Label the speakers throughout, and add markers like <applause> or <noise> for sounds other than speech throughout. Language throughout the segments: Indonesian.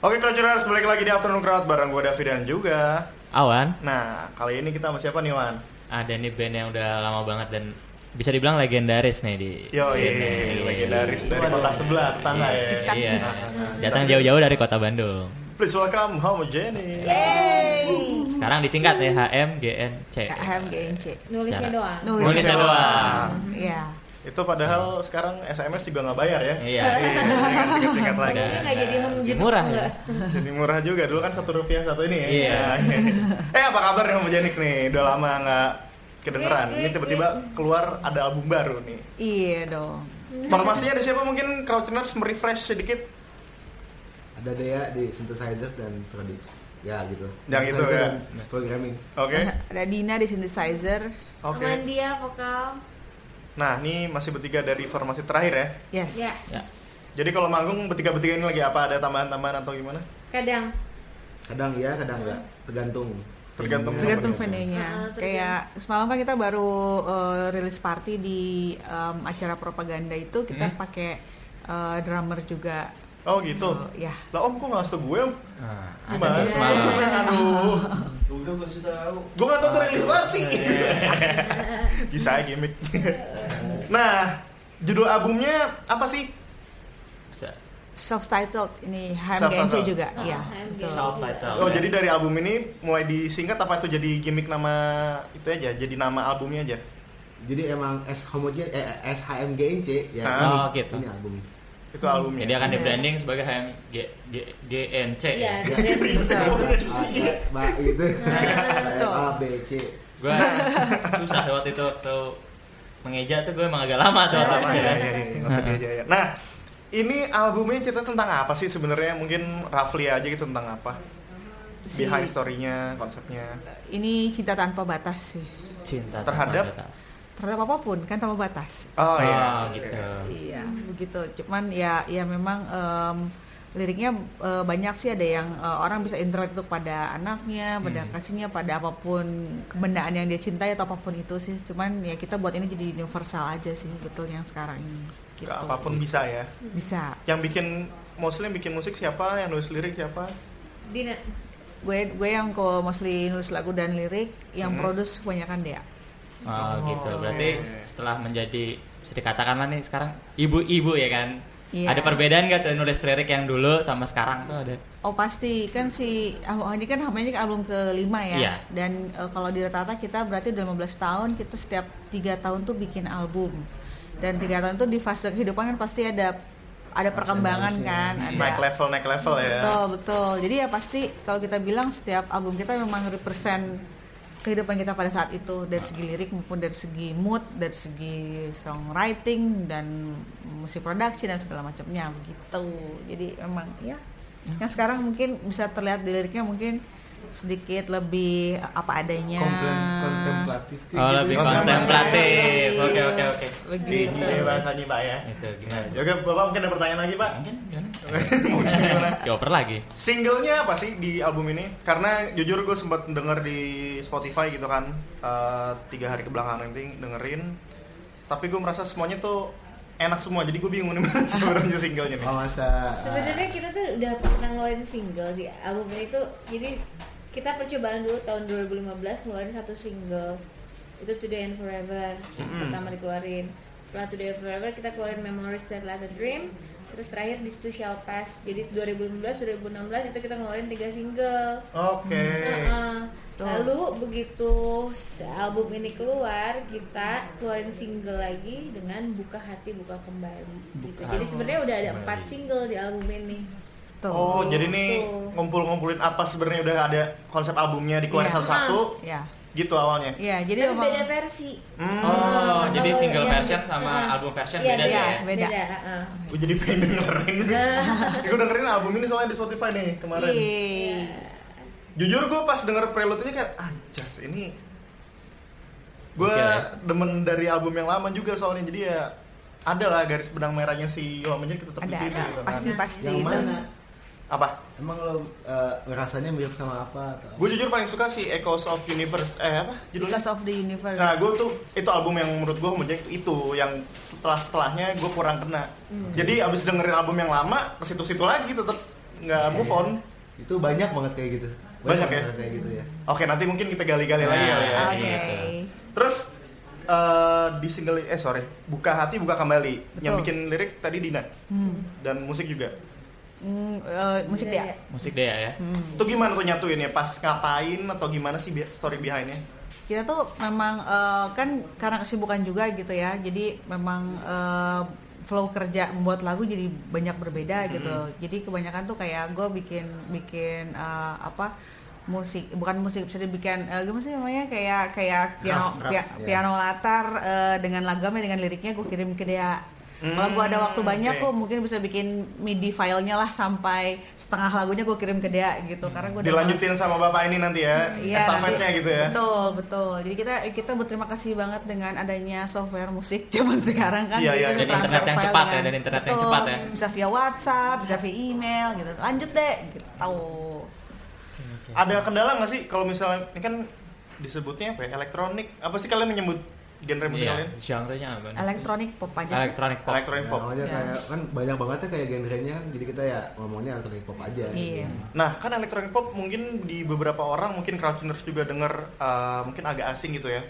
Speaker 1: Oke Crouchers, balik lagi di Afternoon Crowd bareng gue David dan juga
Speaker 2: Awan,
Speaker 1: Nah, kali ini kita sama siapa nih Wan?
Speaker 2: ada nih band yang udah lama banget dan bisa dibilang legendaris nih di
Speaker 1: Yo, iya, legendaris dari kota sebelah tetangga ya
Speaker 2: Iya. Datang jauh-jauh dari kota Bandung.
Speaker 1: Please welcome Homogenic
Speaker 3: Iya.
Speaker 2: Sekarang disingkat ya HMGNC.
Speaker 3: HMGNC.
Speaker 4: Nulisnya
Speaker 2: Secara-
Speaker 4: doang.
Speaker 3: Nulis.
Speaker 2: Nulisnya doang.
Speaker 3: Iya.
Speaker 1: Itu padahal sekarang SMS juga nggak bayar ya
Speaker 2: Iya.
Speaker 1: Iya, singkat-singkat lagi
Speaker 4: Ini nggak jadi home
Speaker 2: Murah ya?
Speaker 4: nggak?
Speaker 1: Jadi murah juga, dulu kan satu rupiah satu ini ya
Speaker 2: Iya.
Speaker 1: Nah, Eh, apa kabar nih Homogenic nih? Udah lama nggak kedengeran Ini tiba-tiba keluar ada album baru nih
Speaker 3: Iya dong.
Speaker 1: Formasinya ada siapa mungkin Crouchers merefresh sedikit
Speaker 5: ada Dea di synthesizer dan produce ya gitu
Speaker 1: Yang itu,
Speaker 5: Synthesizer
Speaker 1: ya.
Speaker 5: dan programming
Speaker 1: Oke,
Speaker 3: Ada Dina di synthesizer.
Speaker 1: oke
Speaker 4: Amandia vokal.
Speaker 1: Nah, ini masih bertiga dari formasi terakhir ya.
Speaker 3: Yes.
Speaker 4: Ya,
Speaker 2: Ya.
Speaker 1: Jadi kalau manggung bertiga-bertiga ini lagi apa ada tambahan-tambahan atau gimana?
Speaker 4: kadang.
Speaker 5: kadang iya kadang enggak tergantung
Speaker 1: Tergantung.
Speaker 5: Venue-nya.
Speaker 3: Tergantung
Speaker 4: Ah,
Speaker 3: venue-nya.
Speaker 4: tergantung.
Speaker 3: Kayak semalam kan kita baru eh, rilis party di em, acara propaganda itu
Speaker 1: Hmm.
Speaker 3: kita pakai eh, drummer juga.
Speaker 1: Oh gitu.
Speaker 3: Eh, ya.
Speaker 1: Lah om kok nggak setuju gue om?
Speaker 2: Nah, ada
Speaker 1: Gimana?
Speaker 2: nih semalam.
Speaker 1: Aduh.
Speaker 5: Udah gue kasih tahu
Speaker 1: Gue nggak tahu tuh rilis party. Bisa gimmick. nah, judul albumnya apa sih?
Speaker 2: Bisa.
Speaker 3: Self-titled ini HMGNC
Speaker 1: Self-titled.
Speaker 3: juga.
Speaker 4: Ah,
Speaker 3: Iya.
Speaker 4: HMGNC.
Speaker 3: betul.
Speaker 2: Self title.
Speaker 1: Oh, jadi dari album ini mulai disingkat apa itu jadi gimmick nama itu aja, jadi nama albumnya aja.
Speaker 5: jadi emang S homogen eh SHMGNC ya
Speaker 1: Ah,
Speaker 5: ini,
Speaker 2: oh, gitu.
Speaker 5: ini album
Speaker 1: Itu albumnya.
Speaker 2: Hmm. Jadi akan di branding sebagai HMGNC.
Speaker 4: Iya,
Speaker 2: Ya.
Speaker 4: dan-
Speaker 5: Ba- ba- ba- <laughs> gitu
Speaker 3: Betul.
Speaker 5: A B C
Speaker 2: Gue susah waktu itu tuh mengeja tuh gue emang agak lama tuh.
Speaker 1: Apa,
Speaker 2: waktu itu.
Speaker 1: ya, ya, ya, ya, nggak usah diajak. Nah, ini albumnya cerita tentang apa sih sebenarnya? Mungkin roughly aja gitu tentang apa?
Speaker 3: Si-
Speaker 1: Behind story-nya, konsepnya.
Speaker 3: Ini cinta tanpa batas sih.
Speaker 2: Cinta
Speaker 1: Terhadap?
Speaker 2: sama batas.
Speaker 3: Terhadap apapun kan tanpa batas.
Speaker 1: Oh,
Speaker 2: Oh,
Speaker 1: iya.
Speaker 2: gitu.
Speaker 3: Iya, begitu. Cuman ya ya memang em, liriknya eh, banyak sih ada yang eh, orang bisa interact tuh pada anaknya, pada kasihnya, pada apapun kebendaan yang dia cintai atau apapun itu sih. Cuman ya kita buat ini jadi universal aja sih betul yang sekarang ini.
Speaker 1: Ke
Speaker 3: Gitu.
Speaker 1: apapun bisa ya.
Speaker 3: Bisa.
Speaker 1: Yang bikin mostly yang bikin musik siapa? Yang nulis lirik siapa?
Speaker 4: Dina.
Speaker 3: Gue gue yang ke mostly nulis lagu dan lirik, yang produce kebanyakan dia.
Speaker 2: Oh, gitu.
Speaker 1: iya,
Speaker 2: Berarti
Speaker 1: iya.
Speaker 2: setelah menjadi bisa dikatakanlah nih sekarang ibu-ibu ya kan.
Speaker 3: Iya.
Speaker 2: Ada perbedaan gak tuh nulis lirik yang dulu sama sekarang tuh ada?
Speaker 3: Oh pasti kan si ah, ini kan ini kan album kelima ya
Speaker 2: Iya.
Speaker 3: dan eh, kalau di rata-rata kita berarti udah 15 tahun kita setiap tiga tahun tuh bikin album dan tiga tahun tuh di fase kehidupan kan pasti ada ada perkembangan kan
Speaker 1: Naik
Speaker 3: ada
Speaker 1: level, naik level ya.
Speaker 3: betul betul jadi ya pasti kalau kita bilang setiap album kita memang represent kehidupan kita pada saat itu dari segi lirik maupun dari segi mood dari segi songwriting dan musik production dan segala macamnya begitu jadi memang ya yang sekarang mungkin bisa terlihat di liriknya mungkin sedikit lebih apa adanya
Speaker 5: Komplem- kontemplatif tuh
Speaker 2: Oh,
Speaker 5: gitu
Speaker 2: lebih
Speaker 5: ya.
Speaker 2: kontemplatif. Oke, oke, oke.
Speaker 1: Ini
Speaker 3: begitu
Speaker 1: ya bahasanya Pak ya.
Speaker 2: Itu
Speaker 1: Nah,
Speaker 2: gimana?
Speaker 1: Oke, Bapak mungkin ada pertanyaan lagi Pak.
Speaker 2: Mungkin gimana? Eh,
Speaker 1: Mungkin gimana?
Speaker 2: Dioper lagi.
Speaker 1: Singlenya apa sih di album ini? Karena jujur gue sempat denger di Spotify gitu kan eh, tiga hari kebelakangan nanti dengerin, tapi gue merasa semuanya tuh enak semua. Jadi gue bingung nih <laughs> mana sebenarnya singlenya nih.
Speaker 5: oh masa
Speaker 4: Sebenarnya
Speaker 3: gitu.
Speaker 4: kita tuh udah pernah ngeluarin single di album ini tuh. Jadi kita percobaan dulu tahun 2015 ngeluarin satu single. Itu Today and Forever pertama dikeluarin. Setelah Today and Forever kita keluarin Memories That Last a Dream. Terus terakhir This Too Shall Pass. Jadi 2015, 2016 itu kita ngeluarin tiga single.
Speaker 1: Oke.
Speaker 4: Heeh.
Speaker 3: Tuh.
Speaker 4: Lalu begitu album ini keluar, kita keluarin single lagi dengan buka hati buka kembali. gitu. Jadi sebenarnya udah ada empat single di album ini.
Speaker 3: Tuh.
Speaker 1: Oh, jadi nih
Speaker 4: Tuh.
Speaker 1: ngumpul-ngumpulin apa sebenarnya udah ada konsep albumnya dikeluarin
Speaker 3: Iya.
Speaker 1: satu-satu
Speaker 3: ya
Speaker 1: gitu awalnya.
Speaker 3: ya jadi
Speaker 4: Tapi
Speaker 3: memang-
Speaker 4: beda versi.
Speaker 1: Hmm.
Speaker 2: Oh,
Speaker 4: Kalau
Speaker 2: jadi single
Speaker 4: yang-
Speaker 2: version sama
Speaker 4: heeh.
Speaker 2: album version
Speaker 4: Iya,
Speaker 2: beda sih
Speaker 4: beda,
Speaker 2: ya?
Speaker 3: beda.
Speaker 4: heeh.
Speaker 1: Gue jadi pengen dengerin. gue dengerin album ini soalnya di Spotify nih kemarin.
Speaker 3: Yeay.
Speaker 1: Jujur gue pas denger prelude-nya kayak anjas ini gue
Speaker 2: Oke.
Speaker 1: demen dari album yang lama juga soalnya jadi ya ada lah garis benang merahnya si Yomennya kita tetap di
Speaker 3: ada
Speaker 1: sini
Speaker 3: ada
Speaker 1: gitu kan.
Speaker 3: pasti pasti
Speaker 5: yang
Speaker 3: itu.
Speaker 5: mana
Speaker 1: Apa?
Speaker 5: emang lo eh, rasanya mirip sama apa atau
Speaker 1: Gue jujur paling suka si Echoes of Universe eh apa judulnya?
Speaker 3: Because of the Universe.
Speaker 1: Nah gue tuh itu album yang menurut gue Homogenic itu, itu yang
Speaker 3: Hmm.
Speaker 1: setelah setelahnya gue kurang kena. Jadi abis dengerin album yang lama ke situ-situ lagi tetap nggak
Speaker 2: Iya,
Speaker 1: move on.
Speaker 5: Itu banyak banget kayak gitu.
Speaker 1: Banyak ya?
Speaker 5: banget kayak gitu ya.
Speaker 1: Oke, nanti mungkin kita gali-gali lagi
Speaker 2: Nah,
Speaker 1: kali ya.
Speaker 2: iya.
Speaker 3: Oke.
Speaker 1: Terus eh, di single eh sorry, buka hati buka kembali. Yang
Speaker 3: Betul.
Speaker 1: bikin lirik tadi Dina
Speaker 3: Hmm.
Speaker 1: dan musik juga.
Speaker 3: Hmm, eh, musik
Speaker 4: Iya,
Speaker 3: dia.
Speaker 2: musik Dea ya
Speaker 3: Hmm.
Speaker 1: Itu gimana tuh nyatuin ya? Pas ngapain atau gimana sih bi- story behindnya?
Speaker 3: kita tuh memang eh, kan karena kesibukan juga gitu ya jadi memang eh, flow kerja membuat lagu jadi banyak berbeda gitu jadi kebanyakan tuh kayak gue bikin bikin eh, apa musik bukan musik bisa dibikin eh, gimana sih namanya kayak kayak piano
Speaker 5: Draft, draft,
Speaker 3: pia-
Speaker 5: ya.
Speaker 3: piano latar eh, dengan lagamnya dengan liriknya gue kirim ke dia kalau gue ada waktu banyak
Speaker 1: oke.
Speaker 3: gue mungkin bisa bikin midi filenya lah sampai setengah lagunya gue kirim ke dia gitu karena gue
Speaker 1: Dilanjutin sama bapak ini nanti ya,
Speaker 3: Iya,
Speaker 1: estafetnya
Speaker 3: nanti-
Speaker 1: gitu ya.
Speaker 3: Betul, betul. Jadi kita kita berterima kasih banget dengan adanya software musik <laughs> zaman sekarang kan.
Speaker 1: Iya,
Speaker 3: Jadi
Speaker 1: iya,
Speaker 3: bisa
Speaker 1: iya. Dan
Speaker 3: transfer
Speaker 2: internet yang
Speaker 3: file
Speaker 2: cepat ya,
Speaker 3: dengan-
Speaker 2: dan internet yang
Speaker 3: betul,
Speaker 2: cepat ya.
Speaker 3: Bisa via WhatsApp, bisa via email gitu. Lanjut deh gitu.
Speaker 1: Ada kendala nggak sih kalau misalnya ini kan disebutnya apa ya? Elektronik. Apa sih kalian menyebut genre musik
Speaker 2: iya
Speaker 1: kalian?
Speaker 2: genre-nya apa nih?
Speaker 3: Elektronik pop aja sih.
Speaker 2: elektronik pop
Speaker 1: Elektronik
Speaker 5: Ya,
Speaker 1: pop.
Speaker 5: awalnya
Speaker 3: Ya.
Speaker 5: kayak kan banyak banget ya kayak genrenya kan jadi kita ya ngomongnya elektronik pop aja. gitu.
Speaker 3: Iya.
Speaker 1: Nah, kan elektronik pop mungkin di beberapa orang mungkin crowdtuners juga denger eh, mungkin agak asing gitu ya.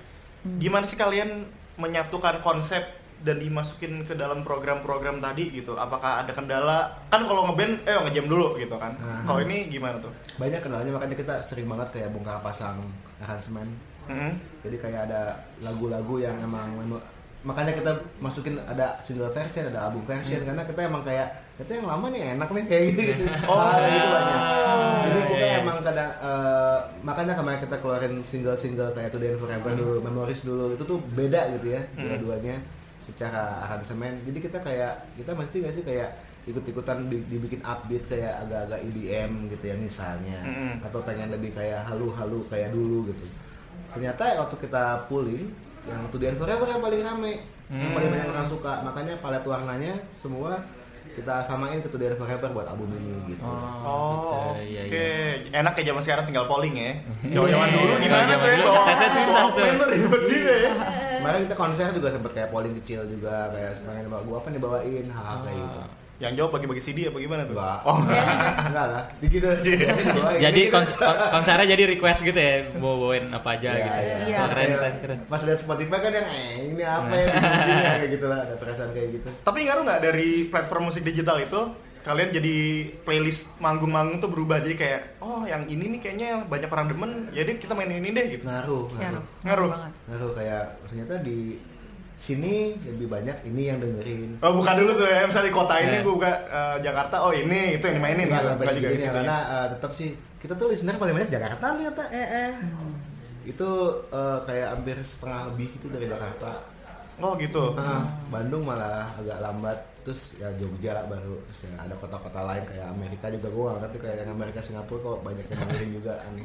Speaker 1: Gimana sih kalian menyatukan konsep dan dimasukin ke dalam program-program tadi gitu? Apakah ada kendala? Kan kalau ngeband eh ngejam dulu gitu kan.
Speaker 2: Ah.
Speaker 5: Hmm.
Speaker 1: Kalau ini gimana tuh?
Speaker 5: Banyak kenalnya makanya kita sering banget kayak bongkar pasang aransemen.
Speaker 1: Mm-mm.
Speaker 5: Jadi kayak ada lagu-lagu yang emang menu- makanya kita masukin ada single version, ada album
Speaker 3: Iya.
Speaker 5: version karena kita emang kayak kita yang lama nih enak nih kayak gitu.
Speaker 3: <laughs>
Speaker 5: gitu.
Speaker 1: Oh,
Speaker 5: Ada gitu banyak. Jadi
Speaker 2: iya,
Speaker 5: kita
Speaker 2: iya.
Speaker 5: emang kadang eh, makanya kemarin kita keluarin single-single kayak Today and Forever
Speaker 2: Hmm.
Speaker 5: dulu, Memories dulu itu tuh beda gitu ya dua-duanya secara aransemen. Jadi kita kayak kita mesti nggak sih kayak ikut-ikutan di- dibikin update kayak agak-agak EDM gitu ya misalnya
Speaker 2: Hmm.
Speaker 1: Mm-mm.
Speaker 5: atau pengen lebih kayak halu-halu kayak dulu gitu ternyata waktu kita pulling yang To The End Forever yang paling rame yang paling
Speaker 2: Hmm.
Speaker 5: banyak orang suka makanya palet warnanya semua kita samain ke To The End Forever buat album ini gitu
Speaker 1: Oh, oke.
Speaker 2: gitu. Iya,
Speaker 1: Enak ya zaman sekarang tinggal polling
Speaker 2: <laughs>
Speaker 1: ya. Zaman-zaman dulu
Speaker 2: Iya,
Speaker 1: gimana
Speaker 2: zaman
Speaker 1: tuh ya?
Speaker 2: dulu
Speaker 1: Bawa-
Speaker 2: tesnya susah
Speaker 1: bawa
Speaker 2: tuh.
Speaker 1: pen tuh ribet juga
Speaker 2: <laughs>
Speaker 1: ya.
Speaker 5: kemarin kita konser juga sempet kayak polling kecil juga kayak pengen bawa gua apa nih bawain hal kayak gitu
Speaker 1: Yang jawab bagi-bagi CD apa gimana tuh?
Speaker 5: Enggak.
Speaker 1: Oh,
Speaker 5: enggak lah gitu sih Bawain.
Speaker 2: jadi
Speaker 5: Kita-
Speaker 2: kons- kon- konsernya jadi request gitu ya bawa bawain apa aja
Speaker 5: Iya,
Speaker 2: gitu
Speaker 5: iya.
Speaker 3: Iya.
Speaker 2: Wah, keren
Speaker 5: Kayak
Speaker 2: keren keren
Speaker 5: pas lihat Spotify kan yang eh ini apa ya Gini-gini, kayak gitu lah ada perasaan kayak gitu
Speaker 1: Tapi ngaruh nggak dari platform musik digital itu kalian jadi playlist manggung-manggung tuh berubah jadi kayak oh yang ini nih kayaknya yang banyak orang demen jadi kita main ini deh gitu.
Speaker 5: ngaruh
Speaker 3: Ya,
Speaker 5: ngaruh
Speaker 1: Ngaruh.
Speaker 3: banget.
Speaker 5: Ngaruh kayak ternyata di sini lebih banyak ini yang dengerin.
Speaker 1: Oh buka dulu tuh ya misalnya di kota ini
Speaker 2: Iya.
Speaker 1: gue buka eh, Jakarta oh ini itu yang dimainin
Speaker 5: Nggak
Speaker 1: gitu.
Speaker 5: sampai
Speaker 1: Nggak juga
Speaker 5: segini
Speaker 1: di situ.
Speaker 5: karena eh, tetap sih kita tuh listener paling banyak Jakarta ternyata.
Speaker 4: Eh.
Speaker 5: Itu eh, kayak hampir setengah lebih itu dari Jakarta.
Speaker 1: Oh gitu.
Speaker 5: Ah, Bandung malah agak lambat terus ya Jogja baru terus ya ada kota-kota lain kayak Amerika juga gua nggak ngerti kayak yang Amerika Singapura kok banyak yang dengerin juga aneh.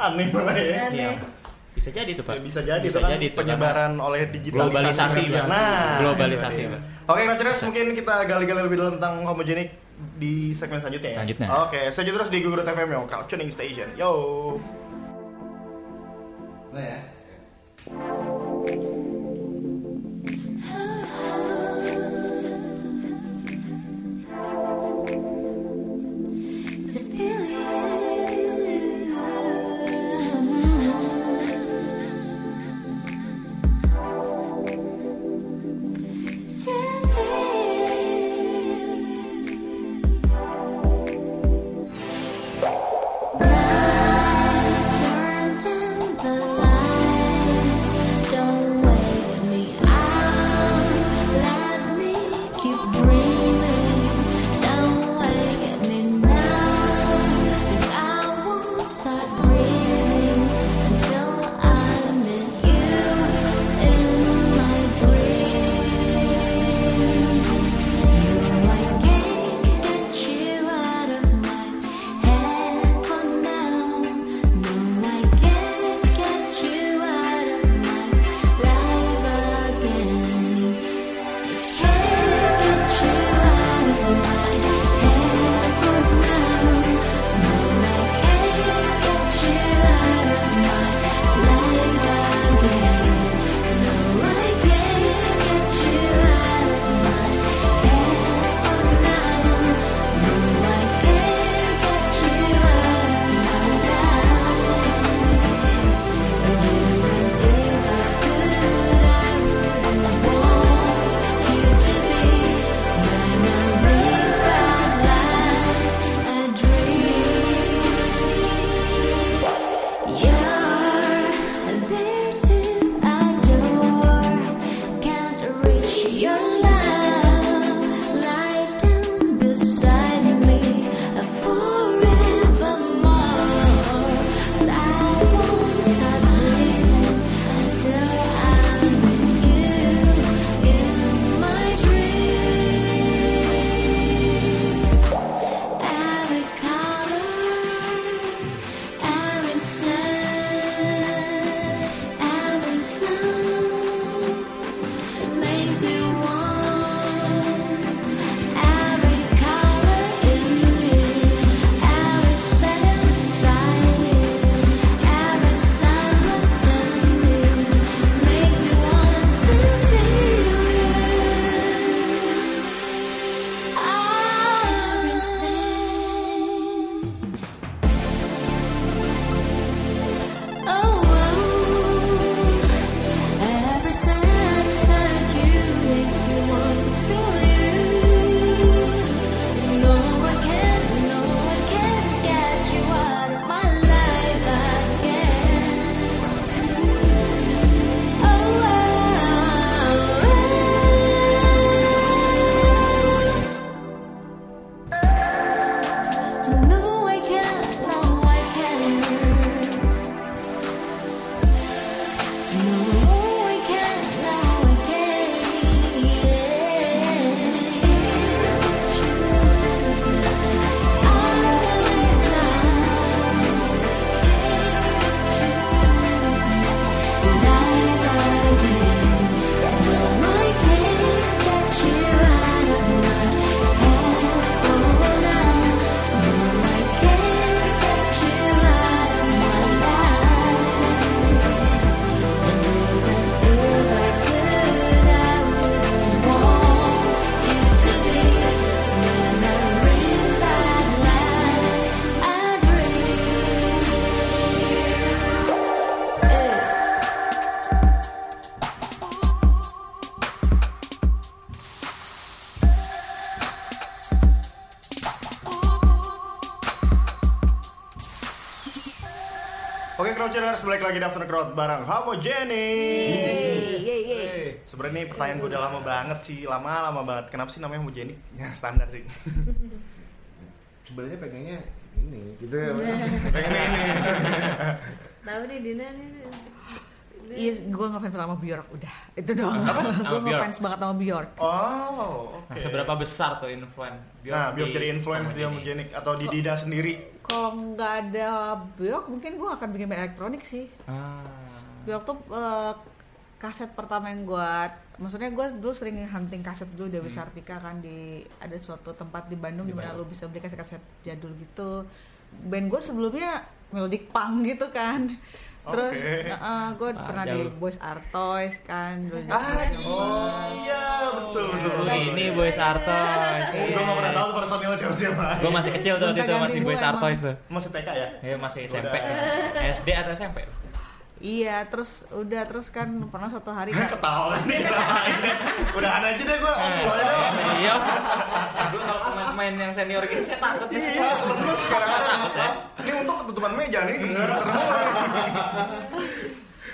Speaker 1: Aneh malah ya.
Speaker 2: Iya.
Speaker 4: Aneh.
Speaker 2: bisa jadi tuh
Speaker 1: Ya,
Speaker 2: pak
Speaker 1: bisa jadi itu
Speaker 2: bisa
Speaker 1: kan
Speaker 2: jadi tuh,
Speaker 1: penyebaran oleh digitalisasi.
Speaker 2: Globalisasi,
Speaker 1: Nah,
Speaker 2: Pak. Globalisasi,
Speaker 1: itu dia.
Speaker 2: Pak.
Speaker 1: Oke, Rangers mungkin kita gali-gali lebih dalam tentang homogenik di segmen selanjutnya ya.
Speaker 2: Selanjutnya.
Speaker 1: Oke, selanjutnya terus di Gugurut FM yo, Crowd Tuning Station. Yo.
Speaker 5: Nah ya.
Speaker 6: To feel you, to feel. I turned in the light. Oh, oh.
Speaker 1: Oke Croucher harus balik lagi di After Crowd bareng Homo Jenny.
Speaker 3: Yeay, yeay, yeay.
Speaker 1: Sebenarnya ini pertanyaan gue udah lama banget sih, lama-lama banget. Kenapa sih namanya Homo Jenny? <laughs> Ya, standar sih.
Speaker 5: Sebenarnya pengennya ini gitu ya.
Speaker 2: Iya.
Speaker 1: Pengen ini.
Speaker 4: Tahu nih Dina nih.
Speaker 2: Nah.
Speaker 3: Iya, gue ngefans sama Bjork udah itu doang. gue
Speaker 2: Sama Bjork?
Speaker 3: ngefans banget sama Bjork.
Speaker 1: Oh, oke.
Speaker 2: Nah, seberapa besar tuh influence?
Speaker 1: Nah, biar jadi influence dia Homo Jenny atau di Dida sendiri.
Speaker 3: Kalau nggak ada Bjork, mungkin gue akan bikin band elektronik sih.
Speaker 2: Ah.
Speaker 3: Bjork tuh eh, kaset pertama yang gue, maksudnya gue dulu sering hunting kaset dulu Dewi Sartika kan di ada suatu tempat di
Speaker 2: Di
Speaker 3: Bandung di mana lo
Speaker 2: Bandung.
Speaker 3: bisa beli kaset-kaset jadul gitu. Band gue sebelumnya melodic punk gitu kan. Terus
Speaker 1: Oke.
Speaker 3: gue
Speaker 2: Ah,
Speaker 3: pernah di
Speaker 2: jauh.
Speaker 3: Boys Are Toys kan. dulu
Speaker 1: Ah,
Speaker 3: juga.
Speaker 1: iya, betul betul.
Speaker 2: Oh,
Speaker 1: betul.
Speaker 2: ini Boy Sartois.
Speaker 1: Gue gak pernah tahu personilnya siapa-siapa.
Speaker 2: Gue masih kecil tuh waktu itu
Speaker 3: Gonta-ganti
Speaker 2: masih
Speaker 3: mulu
Speaker 2: Boy
Speaker 3: emang.
Speaker 2: Sartois tuh.
Speaker 1: masih TK ya? <laughs>
Speaker 2: Ya masih SMP.
Speaker 1: Udah.
Speaker 2: SD atau SMP?
Speaker 3: Iya, terus udah terus kan pernah suatu hari kan
Speaker 1: Ketawa nih, ketawain. Udahan aja deh gue.
Speaker 2: Iya. Gue kalau pemain-pemain yang senior gitu saya takut.
Speaker 1: Iya, lemes sekarang. Ini untuk ketutupan meja nih.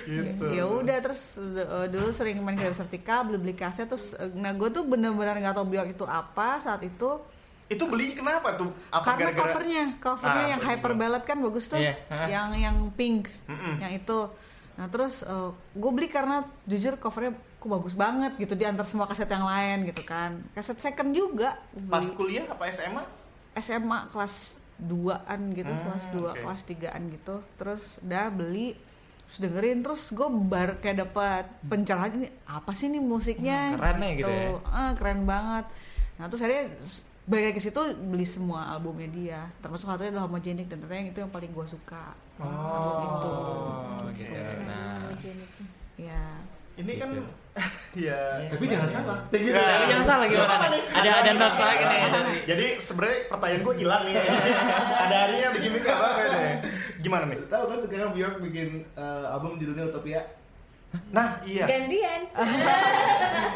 Speaker 1: gitu.
Speaker 3: ya udah terus uh, dulu sering main ke Sertika beli beli kaset terus uh, nah gue tuh bener-bener nggak tahu Bjork itu apa saat itu
Speaker 1: Itu beli kenapa tuh?
Speaker 3: karena covernya covernya
Speaker 1: Ah,
Speaker 3: yang
Speaker 1: betul
Speaker 3: hyper
Speaker 1: juga.
Speaker 3: ballad kan bagus tuh
Speaker 2: Iya.
Speaker 3: yang yang pink
Speaker 1: Mm-mm.
Speaker 3: yang itu nah terus gue beli karena jujur covernya kok bagus banget gitu di antar semua kaset yang lain gitu kan kaset second juga
Speaker 1: Pas
Speaker 3: beli.
Speaker 1: kuliah apa SMA?
Speaker 3: SMA kelas 2-an gitu,
Speaker 1: Hmm,
Speaker 3: kelas 2,
Speaker 1: oke.
Speaker 3: kelas 3-an gitu. Terus udah beli, terus dengerin, terus gue baru kayak dapat pencerahan ini apa sih nih musiknya?
Speaker 2: Hmm, keren ya gitu ya.
Speaker 3: Ah, keren banget. Nah, terus akhirnya s- balik lagi ke situ beli semua albumnya dia, termasuk satunya adalah homogenik dan ternyata yang itu yang paling gue suka.
Speaker 2: Oh,
Speaker 3: Album itu.
Speaker 2: gitu. Nah,
Speaker 4: Nah.
Speaker 3: Ya.
Speaker 1: Ini kan <laughs>
Speaker 2: Gitu.
Speaker 1: ya
Speaker 5: <laughs> Tapi jangan salah.
Speaker 1: Iya.
Speaker 2: Tapi jangan salah gimana nih? Ada ada notes lagi nih dari
Speaker 1: Jadi sebenarnya pertanyaan gue hilang nih. <laughs> Ada harinya begini gak apa-apa deh. kan ya. Gimana nih?
Speaker 5: Tahu kan sekarang Bjork bikin eh, album judulnya Utopia.
Speaker 1: Nah, iya.
Speaker 2: <laughs>
Speaker 4: Gantian.
Speaker 5: Itu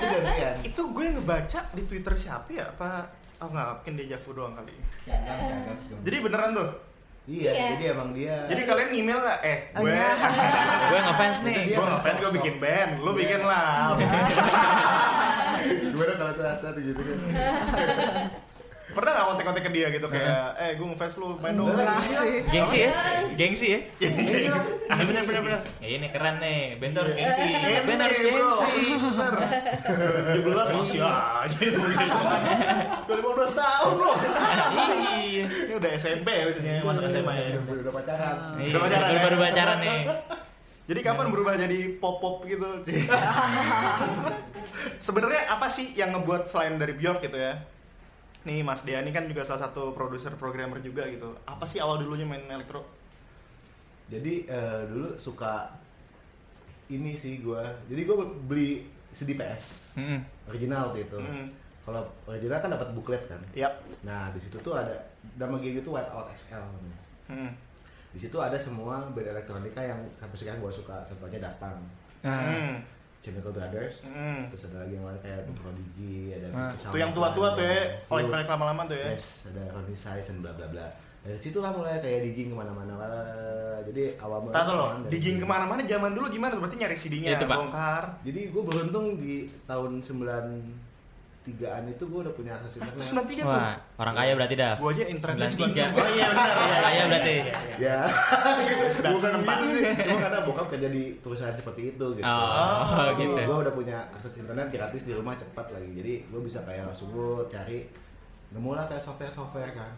Speaker 5: gantian.
Speaker 1: Itu gue ngebaca di Twitter siapa ya? Apa Oh nggak, mungkin dia Javu doang kali. Jadi beneran tuh.
Speaker 5: Iya,
Speaker 4: Iya.
Speaker 5: jadi emang dia.
Speaker 1: Jadi kalian email nggak? Eh, gue
Speaker 2: gue ngefans nih.
Speaker 5: Itu dia.
Speaker 1: gue ngapain gue bikin band, lu bikin <laughs> lah.
Speaker 5: gimana kalau telat-telat gitu kan.
Speaker 1: Pernah nggak kontak-kontak ke dia gitu kayak, eh gue ngefans lu main dong.
Speaker 5: Enggak lah.
Speaker 3: Asik.
Speaker 1: iya.
Speaker 2: Gengsi ya? Gengsi ya? Iya bener bener bener. Ya ini keren nih. Bento harus gengsi.
Speaker 1: Eh,
Speaker 2: Bento harus
Speaker 1: bro.
Speaker 2: gengsi.
Speaker 1: Bener. Jebelat masih <laughs> aja. Udah 15 tahun loh.
Speaker 2: Iya.
Speaker 1: Ini udah SMP ya biasanya masuk SMA ya.
Speaker 5: Udah, udah pacaran.
Speaker 2: Iya,
Speaker 1: Udah pacaran ya?
Speaker 2: Baru baru pacaran nih.
Speaker 1: Jadi kapan berubah jadi pop-pop gitu? <laughs> Sebenarnya apa sih yang ngebuat selain dari Bjork gitu ya? Nih Mas Dea ini kan juga salah satu produser programmer juga gitu. Apa sih awal dulunya main elektro?
Speaker 5: Jadi eh, dulu suka ini sih gua. Jadi gua beli CD PS
Speaker 2: Mm-mm.
Speaker 5: original waktu itu.
Speaker 1: Hmm.
Speaker 5: Kalau original kan dapat buklet kan.
Speaker 1: Yap.
Speaker 5: Nah, di situ tuh ada nama game itu White Out SL namanya.
Speaker 1: Hmm.
Speaker 5: Di situ ada semua band elektronika yang sampai sekarang gua suka. Contohnya Datang,
Speaker 2: Nah,
Speaker 1: Hmm.
Speaker 5: Chemical Brothers,
Speaker 1: Hmm.
Speaker 5: terus ada lagi yang lain kayak The Prodigy, ada
Speaker 2: Ah.
Speaker 5: Future
Speaker 1: Tuh yang
Speaker 5: Sound,
Speaker 1: tua-tua
Speaker 5: ada
Speaker 1: tuh ya,
Speaker 5: Fruit,
Speaker 1: elektronik lama-lama tuh ya.
Speaker 5: Yes, ada Ronnie Size dan bla bla bla. Dari situ lah mulai kayak digging kemana-mana lah. Jadi awal mulai. kan
Speaker 1: Tahu loh,
Speaker 5: dari
Speaker 1: digging
Speaker 5: situ.
Speaker 1: kemana-mana zaman dulu gimana? Berarti nyari CD-nya,
Speaker 2: Itu, Pak.
Speaker 1: bongkar.
Speaker 5: Jadi gue beruntung di tahun 93-an itu gue udah punya akses
Speaker 1: Terus 93
Speaker 5: internet.
Speaker 1: tuh.
Speaker 2: wah orang kaya berarti dah.
Speaker 1: Gua aja internetnya
Speaker 2: 93.
Speaker 1: 93. Oh iya
Speaker 2: <laughs>
Speaker 1: benar. iya, iya,
Speaker 2: Kaya
Speaker 1: iya,
Speaker 2: berarti.
Speaker 1: iya, iya.
Speaker 5: Ya,
Speaker 1: Sudah
Speaker 5: bukan
Speaker 1: tempat.
Speaker 5: gitu sih. Cuma karena bokap kerja di perusahaan seperti itu gitu.
Speaker 2: Oh, gitu.
Speaker 5: Gue udah punya akses internet gratis di rumah cepat lagi. Jadi gue bisa kayak langsung gue cari nemu lah kayak software-software kan.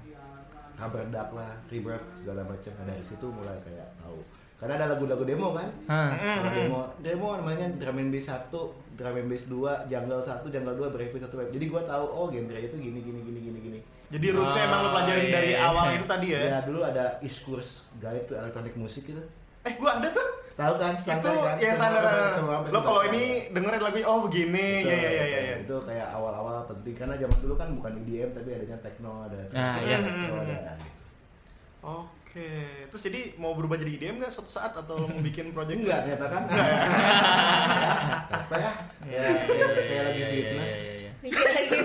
Speaker 5: Kabar dak lah, rebirth segala macam. Nah, dari situ mulai kayak tahu. Karena ada lagu-lagu demo kan.
Speaker 2: Hah.
Speaker 5: Kalau demo, demo namanya drum and bass 1, drum and bass 2, jungle 1, jungle 2, breakbeat 1, breakbeat. Jadi gue tahu oh genre itu gini gini gini gini gini.
Speaker 1: Jadi rootsnya emang lo pelajarin
Speaker 2: Ah,
Speaker 1: dari
Speaker 2: iya.
Speaker 1: awal itu tadi ya.
Speaker 5: Ya dulu ada iskurs guide tuh elektronik musik gitu.
Speaker 1: Eh, gua ada tuh.
Speaker 5: Tahu kan?
Speaker 1: itu
Speaker 5: kan?
Speaker 1: ya
Speaker 5: Semua
Speaker 1: standar
Speaker 5: orang- semua orang pasti
Speaker 1: lo
Speaker 5: tahu.
Speaker 1: kalau ini dengerin lagunya oh begini
Speaker 5: Betul,
Speaker 1: ya ya ya ya ya.
Speaker 5: Itu kayak awal-awal penting karena zaman dulu kan bukan EDM tapi adanya techno, ada
Speaker 2: Nah, iya.
Speaker 5: techno, ada.
Speaker 1: oke terus jadi mau berubah jadi IDM nggak suatu saat atau
Speaker 5: <laughs>
Speaker 1: lo mau bikin project
Speaker 5: Enggak ternyata kan. Apa ya?
Speaker 2: Iya,
Speaker 5: Ya,
Speaker 2: iya,
Speaker 5: kayak
Speaker 2: iya,
Speaker 5: lagi
Speaker 2: iya,
Speaker 5: fitness.
Speaker 2: iya, iya, iya.
Speaker 4: mikir lagi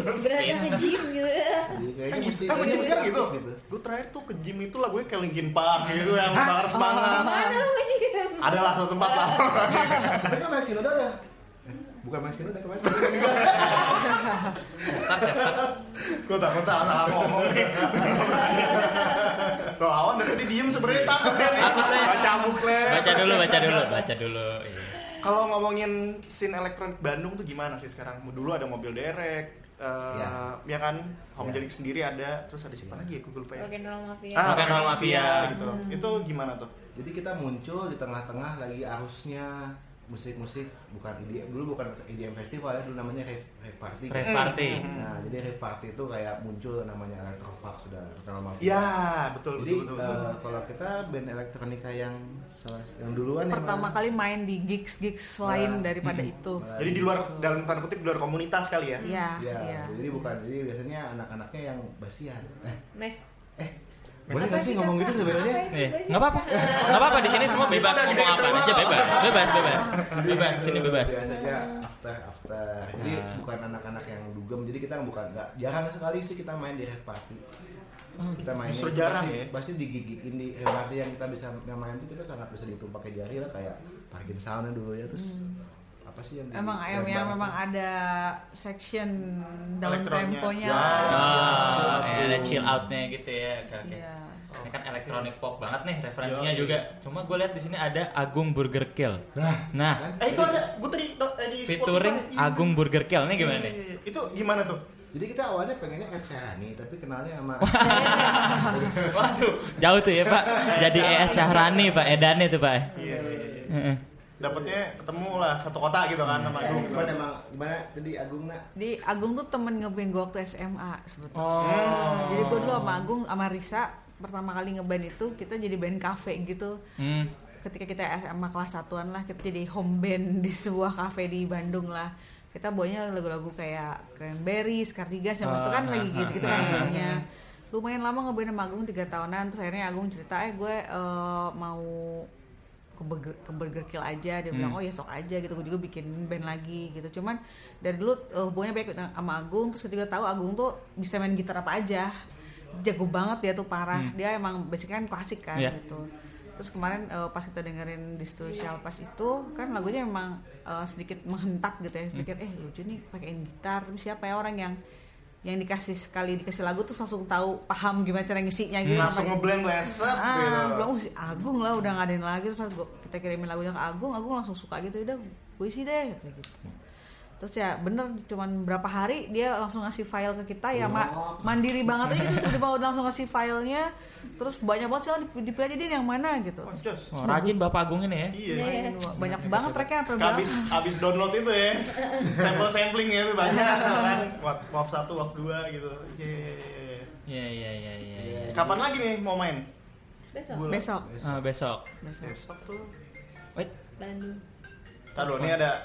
Speaker 4: berasa ke gym gitu
Speaker 5: Jadi kayaknya
Speaker 1: Kan gitu,
Speaker 5: mesti
Speaker 1: kan
Speaker 5: saya
Speaker 1: gym sekarang gitu.
Speaker 5: aktif
Speaker 1: Gue terakhir tuh ke gym itu lagunya kayak Linkin Park gitu yang bakar
Speaker 5: Oh,
Speaker 1: semangat.
Speaker 4: mana lu ke gym
Speaker 1: Ada lah satu tempat
Speaker 2: <laughs>
Speaker 1: lah.
Speaker 5: Tapi kan Mike Shinoda udah Bukan Mike Shinoda, ke Mike Shinoda
Speaker 2: Start ya, start.
Speaker 1: Gue takut salah salah ngomong nih. <laughs> Tuh awan dari tadi diem sebenarnya takut dia nih.
Speaker 2: Takut saya.
Speaker 1: Baca buklet.
Speaker 2: Baca dulu, baca dulu, baca dulu. Iya.
Speaker 1: Kalau ngomongin scene elektronik Bandung tuh gimana sih sekarang? Dulu ada mobil derek, eh,
Speaker 5: Iya.
Speaker 1: ya kan, home
Speaker 5: Iya.
Speaker 1: Jalik sendiri ada, terus ada siapa lagi ya? Gue lupa ya.
Speaker 4: rock and roll mafia
Speaker 1: Ah,
Speaker 2: Rock and Roll Mafia.
Speaker 1: gitu. Itu gimana tuh?
Speaker 5: Jadi kita muncul di tengah-tengah lagi arusnya musik-musik bukan EDM dulu bukan EDM festival ya dulu namanya rave, rave party. gitu.
Speaker 2: Rave party. Hmm.
Speaker 5: Nah, jadi rave party itu kayak muncul namanya electrofax sudah terkenal mafia.
Speaker 1: Ya, betul
Speaker 5: Jadi
Speaker 1: betul betul. betul.
Speaker 5: eh, kalau kita band elektronika yang salah yang duluan ya,
Speaker 3: pertama
Speaker 5: Mas?
Speaker 3: kali main di gigs-gigs
Speaker 2: Nah,
Speaker 3: lain daripada
Speaker 2: hmm.
Speaker 3: itu.
Speaker 5: Malah
Speaker 1: Jadi di luar dalam tanda kutip di luar komunitas kali ya.
Speaker 3: Iya,
Speaker 5: Iya,
Speaker 3: iya.
Speaker 5: jadi bukan jadi biasanya anak-anaknya yang basian. Eh,
Speaker 4: meh
Speaker 5: boleh nggak sih ngomong gitu sebenarnya?
Speaker 2: Iya, nggak apa-apa.
Speaker 4: Eh,
Speaker 2: Nggak apa-apa di sini semua bebas
Speaker 1: Kita udah
Speaker 2: ngomong
Speaker 1: gede semua.
Speaker 2: apa aja bebas. Bebas, bebas. Bebas di sini bebas.
Speaker 5: Biasanya after after. Jadi
Speaker 2: Ah.
Speaker 5: bukan anak-anak yang dugem. Jadi kita bukan nggak jarang sekali sih kita main di rave party.
Speaker 2: Hmm.
Speaker 5: kita main
Speaker 1: Justru jarang
Speaker 5: pasti,
Speaker 1: ya?
Speaker 5: pasti digigitin di rave party yang kita bisa yang main itu kita sangat bisa dihitung pakai jari lah kayak parkir sauna dulu ya terus
Speaker 2: Hmm.
Speaker 5: apa sih yang di-
Speaker 3: Emang ayam
Speaker 5: lempar
Speaker 3: ya
Speaker 5: apa?
Speaker 3: memang ada section down
Speaker 1: Elektronnya.
Speaker 3: temponya.
Speaker 1: Ya.
Speaker 2: Ah, ya, ada chill outnya gitu ya. Oke, oke.
Speaker 3: Iya.
Speaker 2: Ini kan elektronik pop banget nih referensinya
Speaker 1: Yo, iya.
Speaker 2: juga. Cuma gue lihat di sini ada Agung Burger Kill.
Speaker 5: Nah,
Speaker 2: Nah,
Speaker 1: Eh itu ada gue tadi do- eh, di
Speaker 2: featuring
Speaker 1: Spotify.
Speaker 2: Agung Burger Kill nih gimana
Speaker 1: Iya,
Speaker 2: nih?
Speaker 1: iya, iya. Itu gimana tuh?
Speaker 5: jadi kita awalnya pengennya Ed Sheeran nih tapi kenalnya sama
Speaker 2: Waduh, jauh tuh ya Pak. Jadi ES Syahrani Pak, Edane tuh Pak.
Speaker 1: Iya iya iya. Dapatnya ketemu lah satu kota gitu kan sama
Speaker 5: Agung
Speaker 1: Agung.
Speaker 5: gimana emang gimana tadi Agung nak
Speaker 3: Di Agung tuh temen ngeband gue waktu SMA sebetulnya.
Speaker 2: Oh.
Speaker 3: Jadi gue dulu sama Agung sama Risa pertama kali ngeband itu kita jadi band cafe gitu.
Speaker 2: Hmm.
Speaker 3: Ketika kita SMA kelas satuan lah kita jadi home band <laughs> di sebuah cafe di Bandung lah. Kita bawanya lagu-lagu kayak Cranberries, Cardigans, yang itu kan
Speaker 2: Ah,
Speaker 3: lagi
Speaker 2: ah,
Speaker 3: gitu gitu kan
Speaker 2: ah, ah,
Speaker 3: lagunya. Lumayan lama ngeband sama Agung 3 tahunan terus akhirnya Agung cerita eh gue eh, mau ke Burger, ke Burger Kill aja dia bilang
Speaker 2: Hmm.
Speaker 3: oh ya sok aja gitu gue juga bikin band lagi gitu cuman dari dulu eh, hubungannya baik sama Agung terus ketika tahu Agung tuh bisa main gitar apa aja jago banget dia tuh parah dia emang basicnya kan klasik kan
Speaker 2: Hmm. Iya.
Speaker 3: gitu terus kemarin eh, pas kita dengerin di Social Pass itu kan lagunya emang eh, sedikit menghentak gitu ya pikir eh lucu nih pakein gitar tapi siapa ya orang yang yang dikasih sekali dikasih lagu terus langsung tahu paham gimana cara ngisinya gitu
Speaker 1: Langsung
Speaker 3: Apa-
Speaker 1: ngeblend leset gitu.
Speaker 3: ah bilang, "Uh, si Agung lah udah nggak ada yang lagi terus pas gua- kita kirimin lagunya ke Agung Agung langsung suka gitu udah gue isi deh kata gitu terus ya bener cuman berapa hari dia langsung ngasih file ke kita ya Ma- mandiri banget aja gitu tiba-tiba udah langsung ngasih filenya terus banyak banget sih "Oh, dip- dipilih aja dia yang mana gitu
Speaker 1: Oh, just.
Speaker 2: Oh, rajin Bapak Agung ini ya.
Speaker 1: Iya.
Speaker 3: banyak banget tracknya sampai berapa
Speaker 1: Abis, abis download itu ya, sampel sampling ya itu banyak kan. Waf waf satu, waf dua gitu. Iya, Iya. iya.
Speaker 2: Iya, iya, iya, iya. iya.
Speaker 1: Kapan lagi nih mau main?
Speaker 4: besok
Speaker 1: Bulan-
Speaker 3: besok
Speaker 2: Ah, besok.
Speaker 3: besok
Speaker 1: Besok tuh.
Speaker 2: Wait,
Speaker 4: Bandung
Speaker 1: Taruh ini ada.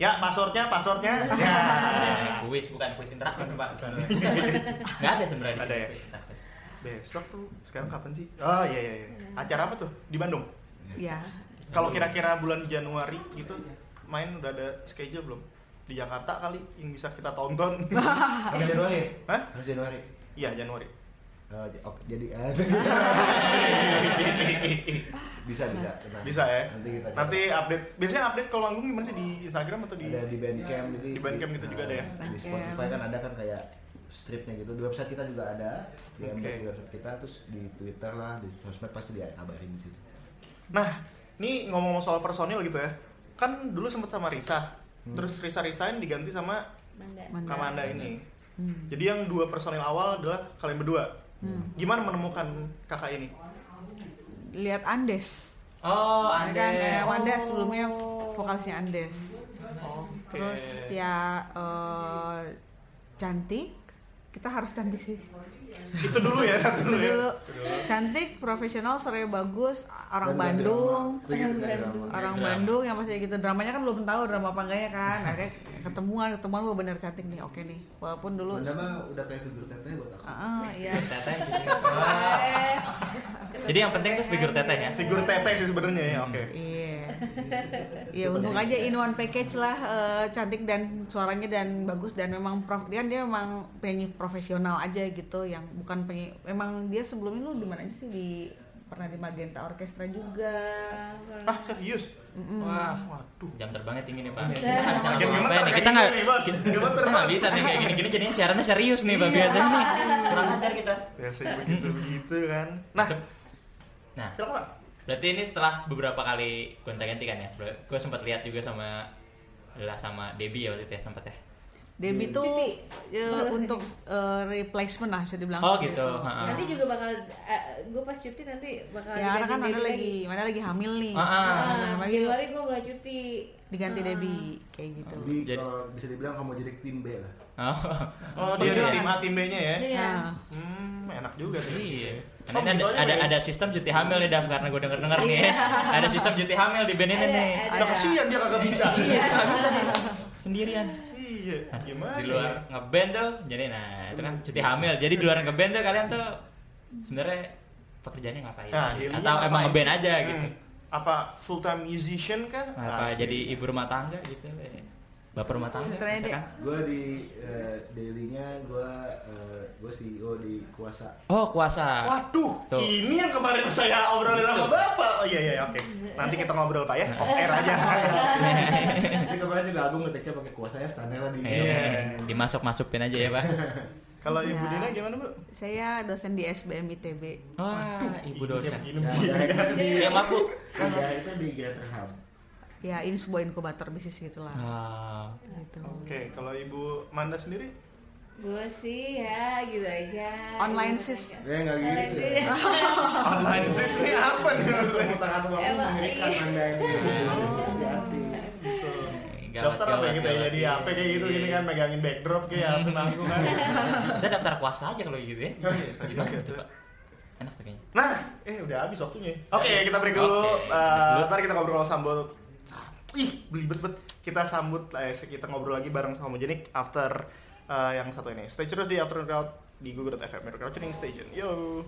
Speaker 1: Ya passwordnya, passwordnya. Ya.
Speaker 2: kuis bukan kuis interaktif Pak.
Speaker 1: <laughs>
Speaker 2: Enggak ada sebenarnya di
Speaker 1: Ada
Speaker 2: sini
Speaker 1: ya?
Speaker 2: kuis interaktif.
Speaker 1: <laughs> Besok tuh. Sekarang kapan sih? Oh iya iya. iya. Acara apa tuh di Bandung?
Speaker 3: ya
Speaker 1: Kalau kira-kira bulan Januari gitu main udah ada schedule belum? Di Jakarta kali yang bisa kita
Speaker 5: <laughs>
Speaker 1: tonton.
Speaker 2: Ah.
Speaker 5: harus Januari
Speaker 1: Hah?
Speaker 5: harus Januari
Speaker 1: Iya Januari. <laughs>
Speaker 5: Eh, j- oke, jadi eh,
Speaker 2: Ah.
Speaker 5: <laughs> bisa bisa tenang.
Speaker 1: Bisa ya.
Speaker 5: nanti kita cari.
Speaker 1: Nanti update. Biasanya update kalau manggung gimana sih di Instagram atau di
Speaker 5: ada di bandcamp jadi
Speaker 1: Di Bandcamp gitu juga ada ya?
Speaker 5: di Spotify kan ada kan kayak stripnya gitu di website kita juga ada di
Speaker 1: Oke.
Speaker 5: di website kita terus di Twitter lah di sosmed pasti dia kabarin di situ
Speaker 1: Nah, ini ngomong soal personil gitu ya. Kan dulu sempet sama Risa.
Speaker 5: Hmm.
Speaker 1: Terus Risa resign diganti sama
Speaker 4: Manda
Speaker 3: Manda.
Speaker 1: Kamanda ini.
Speaker 3: Hmm.
Speaker 1: Jadi yang dua personil awal adalah kalian berdua. Gimana menemukan kakak ini?
Speaker 3: lihat Andes
Speaker 2: Oh,
Speaker 3: Ada kan eh,
Speaker 2: Andes.
Speaker 3: Wanda sebelumnya vokalisnya Andes
Speaker 1: Oke.
Speaker 3: Oh, Terus ya eh, cantik, kita harus cantik sih.
Speaker 1: itu dulu ya, satu dulu
Speaker 3: Itu
Speaker 1: ya.
Speaker 3: dulu cantik, profesional, sore bagus, orang
Speaker 5: Dan dari
Speaker 3: Bandung,
Speaker 5: drama. Itu gitu dari drama.
Speaker 1: Iya,
Speaker 3: orang
Speaker 2: Drama.
Speaker 3: Bandung yang masih gitu dramanya kan belum tahu drama apa enggaknya kan. Akhirnya ketemuan, ketemuan wah bener cantik nih, oke nih. Walaupun dulu
Speaker 5: Bunda mah udah kayak figur teteh buat aku
Speaker 3: Ah,
Speaker 5: <laughs>
Speaker 3: iya.
Speaker 2: Teteh. Wah. Jadi yang penting tuh figur teteh ya.
Speaker 1: Figur teteh sih sebenarnya ya, oke.
Speaker 3: Iya. Ya untung aja in one package lah eh, cantik dan suaranya dan bagus dan memang prof dia dia memang penyanyi profesional aja gitu yang bukan penyanyi memang dia sebelumnya lu di mana aja sih di pernah di Magenta Orkestra juga.
Speaker 4: Nah,
Speaker 1: ah serius
Speaker 2: Wah,
Speaker 1: waduh
Speaker 2: jam terbangnya tinggi nih Pak.
Speaker 1: Iya.
Speaker 2: Kita
Speaker 1: Makin gemeter kayak
Speaker 2: nggak bisa ngapa-ngapain nih. Kita nggak
Speaker 1: gini nih, Bos. Iya.
Speaker 2: kita-
Speaker 1: Gemeter,
Speaker 2: kita nggak
Speaker 1: Bos.
Speaker 2: bisa nih kayak gini-gini jadinya siarannya serius nih Pak biasanya nih. Kurang ajar kita.
Speaker 1: biasanya Ya, begitu begitu kan nah
Speaker 2: Nah,
Speaker 1: silakan Pak.
Speaker 2: berarti ini setelah beberapa kali gonta-ganti kan ya. Gue sempat lihat juga sama adalah sama Debbie ya waktu itu ya sempat ya.
Speaker 3: Debbie tuh
Speaker 4: Cuti.
Speaker 3: eh,
Speaker 4: Balas
Speaker 3: untuk eh, replacement lah bisa dibilang.
Speaker 2: Oh gitu. ha-ha.
Speaker 4: Nanti juga bakal, gue pas cuti nanti bakal
Speaker 3: Ya karena
Speaker 4: diganti
Speaker 3: kan ada
Speaker 4: Debbie
Speaker 3: lagi, mana lagi hamil nih.
Speaker 2: Ah, ah.
Speaker 4: Ah,
Speaker 3: Nah, mana lagi
Speaker 4: Januari gue mulai cuti.
Speaker 3: diganti
Speaker 4: Ah.
Speaker 3: Debbie kayak gitu.
Speaker 5: Jadi
Speaker 2: Jadi-
Speaker 5: kalau bisa dibilang kamu jadi tim B lah.
Speaker 2: Oh.
Speaker 1: oh dia
Speaker 3: Iya.
Speaker 1: tim A tim B nya ya
Speaker 4: Iya.
Speaker 3: Nah,
Speaker 1: hmm enak juga sih
Speaker 2: Iya.
Speaker 1: Oh,
Speaker 2: Karena ini ada,
Speaker 1: misalnya
Speaker 2: ada,
Speaker 1: kayak-
Speaker 2: ada sistem cuti hamil nih Daf karena gue denger denger nih. ya. ada sistem cuti hamil di band ini
Speaker 4: Ada,
Speaker 2: nih.
Speaker 4: ada.
Speaker 1: Nah, kasihan dia kagak bisa. Iya.
Speaker 2: Nggak bisa nih sendirian.
Speaker 1: Gimana? ya?
Speaker 2: Di luar ngeband tuh, jadi nah itu kan cuti hamil. Jadi di luar ngeband tuh kalian tuh sebenarnya pekerjaannya ngapain
Speaker 1: Nah,
Speaker 2: sih?
Speaker 1: dia
Speaker 2: Atau
Speaker 1: lihat
Speaker 2: emang
Speaker 1: apa
Speaker 2: ngeband
Speaker 1: isi-
Speaker 2: aja
Speaker 1: Hmm.
Speaker 2: gitu?
Speaker 1: Apa full time musician kah?
Speaker 2: Apa
Speaker 1: Asik.
Speaker 2: jadi ibu rumah tangga gitu? eh. Bapak rumah tangga.
Speaker 3: Sebenarnya dia-
Speaker 2: misalkan.
Speaker 5: Gue di eh, dailynya eh, gue gue CEO E di Kuasa.
Speaker 2: Oh kuasa.
Speaker 1: Waduh,
Speaker 2: Tuh.
Speaker 1: ini yang kemarin saya obrolin sama Bapak. Oh iya iya iya, oke. Nanti kita ngobrol Pak ya,
Speaker 2: Iya.
Speaker 1: off air aja.
Speaker 5: Iya. Tapi kemarin juga aku ngetiknya pakai Kuasa ya standar lah di.
Speaker 1: Iya.
Speaker 5: Iya.
Speaker 2: Eh, dimasuk masukin aja ya pak.
Speaker 1: Kalau Ibu
Speaker 3: Ya.
Speaker 1: Dina gimana, Bu?
Speaker 3: saya dosen di SBM ITB.
Speaker 2: Wah Oh, ibu dosen. Iya,
Speaker 1: Begini, kan?
Speaker 5: Nah,
Speaker 1: Iya, begini.
Speaker 5: direct di
Speaker 2: Ya maaf bu.
Speaker 5: ya, itu di Greater Hub.
Speaker 3: Ya ini sebuah inkubator bisnis gitulah.
Speaker 2: Ah.
Speaker 3: Gitu.
Speaker 1: Oke, kalau Ibu Manda sendiri?
Speaker 4: Gue sih ya gitu aja.
Speaker 3: Online
Speaker 4: Gitu
Speaker 3: sis.
Speaker 4: aja.
Speaker 5: Ya nggak
Speaker 4: Online
Speaker 5: gitu.
Speaker 4: sis.
Speaker 1: Online sis ini apa nih?
Speaker 5: Pemutaran uang
Speaker 4: Emang,
Speaker 5: mengerikan
Speaker 4: iya.
Speaker 5: anda ini. Hati-hati.
Speaker 1: Gitu.
Speaker 2: Gawat,
Speaker 1: Daftar apa ya
Speaker 2: gawat,
Speaker 1: kita ya?
Speaker 2: gawat.
Speaker 1: Jadi apa kayak gitu
Speaker 2: Iya.
Speaker 1: gini kan megangin backdrop kayak apa nanggung kan.
Speaker 2: Kita daftar kuasa aja kalau gitu ya.
Speaker 1: Iya,
Speaker 2: Gimana
Speaker 1: Oke.
Speaker 2: tuh, Pak? Enak tuh kayaknya.
Speaker 1: Nah, eh udah habis waktunya. Oke, kita break dulu.
Speaker 2: Oke,
Speaker 1: Eh,
Speaker 2: break dulu.
Speaker 1: ntar kita ngobrol sambut. Ih, belibet bet. Kita sambut eh, kita ngobrol lagi bareng sama Jenik after eh, yang satu ini. Stay terus di Afternoon Crowd di google.fm Mirror Crowd Tuning Station. Yo.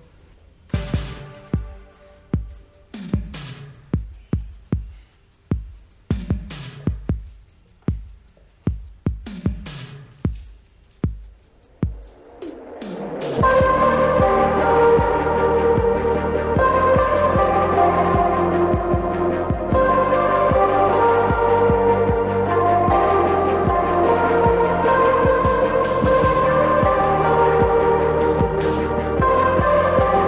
Speaker 6: Thank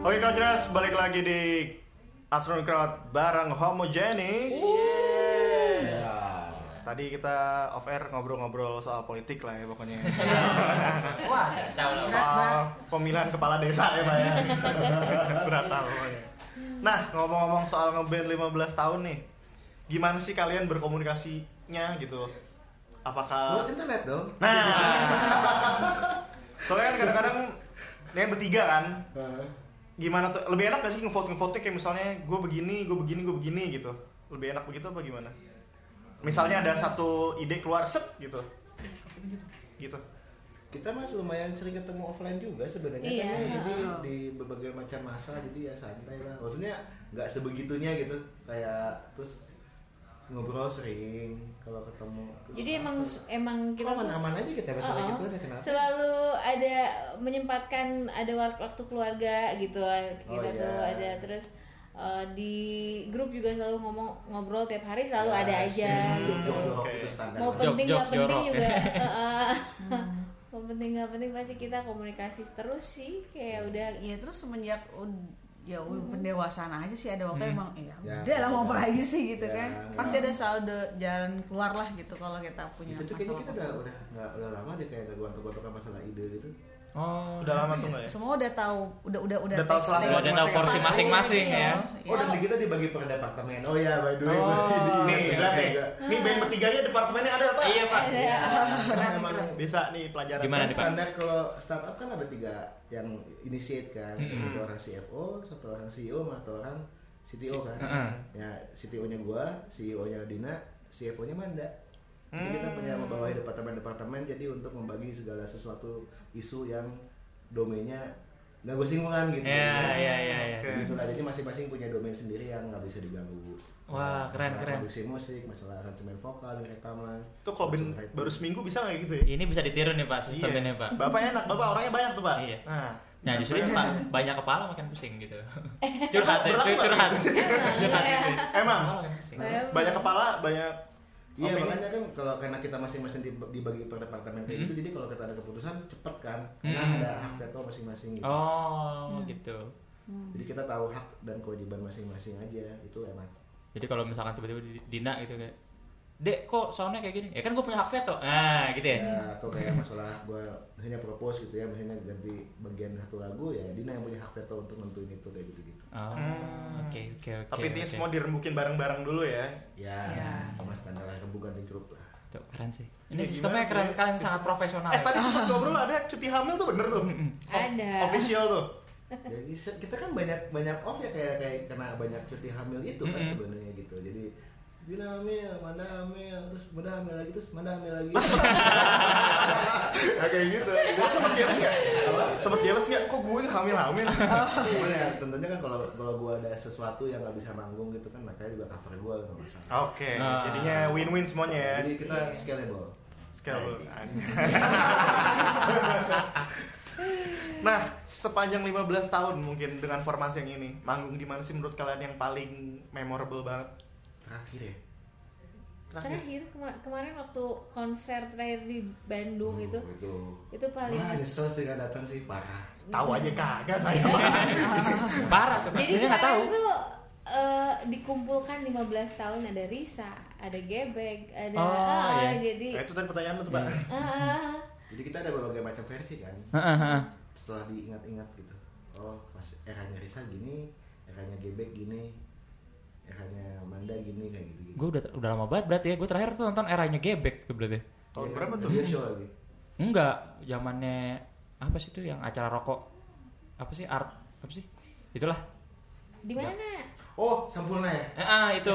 Speaker 1: Oke Crowders, balik lagi di Afternoon Crowd bareng Homogenic
Speaker 5: Ya.
Speaker 1: Tadi kita off air ngobrol-ngobrol soal politik lah ya pokoknya
Speaker 2: Wah, tahu lah. Pak.
Speaker 1: Soal pemilihan kepala desa ya Pak ya <laughs> Berat tahu pokoknya Nah ngomong-ngomong soal ngeband 15 tahun nih Gimana sih kalian berkomunikasinya gitu?
Speaker 5: Buat
Speaker 1: Apakah...
Speaker 5: internet dong.
Speaker 1: Nah Soalnya kan kadang-kadang Yang bertiga kan
Speaker 5: eh,
Speaker 1: Gimana tuh? Lebih enak gak sih ngevote-ngevote kayak misalnya Gue begini, gue begini, gue begini gitu Lebih enak begitu apa gimana? Misalnya ada satu ide keluar set gitu Gitu
Speaker 5: Kita mas lumayan sering ketemu offline juga sebenarnya kan
Speaker 4: Iya.
Speaker 5: ya. jadi di berbagai macam masa jadi ya santai lah. Maksudnya nggak sebegitunya gitu kayak terus ngobrol sering kalau ketemu. Terus
Speaker 4: Jadi emang emang kita
Speaker 5: kita
Speaker 4: tuh-
Speaker 5: aman-aman aja kita pas
Speaker 4: Oh,
Speaker 5: lagi
Speaker 4: oh.
Speaker 5: gitu ada kenapa?
Speaker 4: selalu ada menyempatkan ada waktu, waktu keluarga gitu kita
Speaker 5: Oh, iya.
Speaker 4: tuh ada terus eh, di grup juga selalu ngomong ngobrol tiap hari
Speaker 5: Ya,
Speaker 4: selalu
Speaker 5: Iya,
Speaker 4: ada aja gitu.
Speaker 5: Jodoh
Speaker 1: Oke.
Speaker 5: itu standar.
Speaker 4: mau
Speaker 2: Jok,
Speaker 4: penting ya,
Speaker 2: jok,
Speaker 4: nggak penting
Speaker 2: jorok.
Speaker 4: juga eh, eh, mau penting nggak penting pasti kita komunikasi terus sih kayak
Speaker 5: Hmm.
Speaker 4: udah
Speaker 3: ya terus semenjak ud- ya udah pendewasaan aja sih ada
Speaker 2: Hmm.
Speaker 3: waktu emang ya,
Speaker 5: Ya,
Speaker 3: udah lah mau apa
Speaker 5: ya.
Speaker 3: lagi sih gitu
Speaker 5: Ya,
Speaker 3: kan
Speaker 5: ya.
Speaker 3: pasti ada selalu ada jalan keluar lah gitu kalau kita punya
Speaker 5: itu tuh kayaknya kita udah
Speaker 3: masalah
Speaker 5: udah nggak udah lama deh kayak kegontok-gontokan masalah ide gitu.
Speaker 2: Oh,
Speaker 1: Udah lama tuh nggak ya?
Speaker 3: semua udah tahu udah udah udah
Speaker 1: Udah tahu selama
Speaker 2: udah ada tahu
Speaker 1: masing-masing
Speaker 2: porsi
Speaker 1: apa?
Speaker 2: masing-masing ya.
Speaker 4: Iya.
Speaker 5: Oh, dan kita dibagi per departemen. Oh ya, by the way. ya.
Speaker 2: Oh,
Speaker 5: <laughs>
Speaker 1: Nih,
Speaker 2: Oke,
Speaker 1: berat
Speaker 2: oke.
Speaker 1: nih. Nih band bertiganya departemennya ada apa?
Speaker 2: Iya, Pak.
Speaker 4: ada
Speaker 5: Emang
Speaker 1: Bisa nih pelajaran.
Speaker 2: Gimana?
Speaker 5: kan
Speaker 2: nih, Pak?
Speaker 5: standar kalau startup kan ada tiga yang initiate kan,
Speaker 2: Mm-mm.
Speaker 5: satu orang CFO, satu orang CEO, sama satu orang CTO kan.
Speaker 2: Mm-mm.
Speaker 5: Ya, CTO-nya gua, CEO-nya Dina, CFO-nya Manda. Jadi kita
Speaker 2: Hmm.
Speaker 5: punya membawahi departemen-departemen jadi untuk membagi segala sesuatu isu yang domainnya nggak bersinggungan gitu.
Speaker 2: Ya, ya, ya, ya.
Speaker 1: Oke.
Speaker 5: Begitulah, jadi masing-masing punya domain sendiri yang nggak bisa diganggu.
Speaker 2: Wah, keren,
Speaker 5: Masalah
Speaker 2: keren.
Speaker 5: Produksi musik, masalah aransemen vokal, dan rekaman.
Speaker 1: Tuh kalau band
Speaker 5: Songwriting.
Speaker 1: baru seminggu bisa nggak gitu ya? Iya.
Speaker 2: Ini bisa ditiru nih Pak, sistem ini Iya, Pak.
Speaker 1: Bapak enak, bapak orangnya banyak tuh pak.
Speaker 2: Iya.
Speaker 1: Nah,
Speaker 2: Nah justru itu Pak, banyak kepala makin pusing gitu.
Speaker 1: <laughs>
Speaker 2: Curhat,
Speaker 1: Berat,
Speaker 2: itu
Speaker 1: Pak.
Speaker 2: curhat. gitu.
Speaker 4: Emang, iya.
Speaker 1: emang
Speaker 2: Kepala makin pusing.
Speaker 4: Saya
Speaker 1: Eh, banyak kepala, banyak.
Speaker 5: Iya
Speaker 1: opini.
Speaker 5: makanya kan kalau karena kita masing-masing dib- dibagi per departemen kayak
Speaker 2: Mm-hmm.
Speaker 5: gitu, jadi kalau kita ada keputusan cepet kan, karena
Speaker 2: Hmm.
Speaker 5: ada hak veto masing-masing. Gitu.
Speaker 1: Iya.
Speaker 2: Oh gitu.
Speaker 5: Jadi kita tahu hak dan kewajiban masing-masing aja, itu enak.
Speaker 2: Jadi kalau misalkan tiba-tiba di- Dina gitu kayak, Dek kok soundnya kayak gini? Ya kan gue punya hak veto. Nah gitu
Speaker 1: Iya.
Speaker 2: ya.
Speaker 5: Ya, atau kayak masalah gua misalnya propose gitu ya, misalnya ganti bagian satu lagu ya, Dina yang punya hak veto untuk nentuin itu kayak gitu-gitu.
Speaker 2: Oh, Oke oke oke.
Speaker 1: Hmm. Tapi intinya
Speaker 2: oke.
Speaker 1: semua dirembukin bareng-bareng dulu ya.
Speaker 5: Ya,
Speaker 3: Ya.
Speaker 5: sama standar lah, bukan di grup lah.
Speaker 2: Tuh, keren sih.
Speaker 1: Iya,
Speaker 2: Ini
Speaker 1: gimana
Speaker 2: sistemnya
Speaker 1: tuh
Speaker 2: keren
Speaker 1: ya?
Speaker 2: sekali, sangat profesional.
Speaker 1: Eh tadi sempat ngobrol ada cuti hamil tuh bener tuh.
Speaker 4: Ada.
Speaker 1: Official tuh.
Speaker 5: Ya, is- kita kan banyak banyak off ya kayak kayak kena banyak cuti hamil itu kan
Speaker 2: Mm-mm.
Speaker 5: sebenarnya gitu. Jadi Dina hamil, Manda hamil, terus Manda hamil lagi, terus Manda hamil
Speaker 2: <laughs>
Speaker 5: lagi.
Speaker 1: Nah, kayak gitu.
Speaker 2: Iya.
Speaker 1: Lo sempet jealous nggak? Sempet jealous nggak? Kok gue
Speaker 2: <laughs>
Speaker 1: hamil-hamil?
Speaker 5: Cuman ya tentunya kan kalau kalau gue ada sesuatu yang nggak bisa manggung gitu kan mereka juga cover gue nggak masalah.
Speaker 1: Oke,
Speaker 2: Ah.
Speaker 1: jadinya win-win semuanya ya.
Speaker 5: Jadi kita scalable.
Speaker 1: Scalable. <laughs> nah, sepanjang 15 tahun mungkin dengan formasi yang ini, manggung di mana sih menurut kalian yang paling memorable banget?
Speaker 5: Terakhir ya.
Speaker 4: terakhir kema- kemarin waktu konser terakhir di Bandung itu
Speaker 5: Oh, itu.
Speaker 4: itu paling
Speaker 5: Wah nyesel sih nggak datang sih parah.
Speaker 1: Tahu aja kagak saya.
Speaker 2: <laughs> Parah
Speaker 4: Jadi
Speaker 2: sebenarnya nggak tahu.
Speaker 4: kemarin tuh eh, dikumpulkan 15 tahun ada Risa, ada Gebek, ada
Speaker 2: Oh,
Speaker 4: ah,
Speaker 2: iya.
Speaker 4: jadi
Speaker 1: <laughs> nah, itu tadi pertanyaan lu tuh, Pak.
Speaker 4: ah, ah.
Speaker 5: Jadi kita ada berbagai macam versi kan.
Speaker 2: Heeh, heeh.
Speaker 5: Setelah diingat-ingat gitu. Oh pas eranya Risa gini, eranya Gebek gini, eranya Manda gini kayak gitu gitu.
Speaker 2: Gue udah udah lama banget berarti ya. Gue terakhir tuh nonton eranya Gebek tuh berarti.
Speaker 1: Tahun berapa tuh?
Speaker 5: Dia show lagi.
Speaker 2: Enggak, zamannya apa sih tuh yang acara rokok? Apa sih art? Apa sih? Itulah.
Speaker 4: di mana?
Speaker 5: Oh sampulna ya.
Speaker 2: Eh, ah, itu.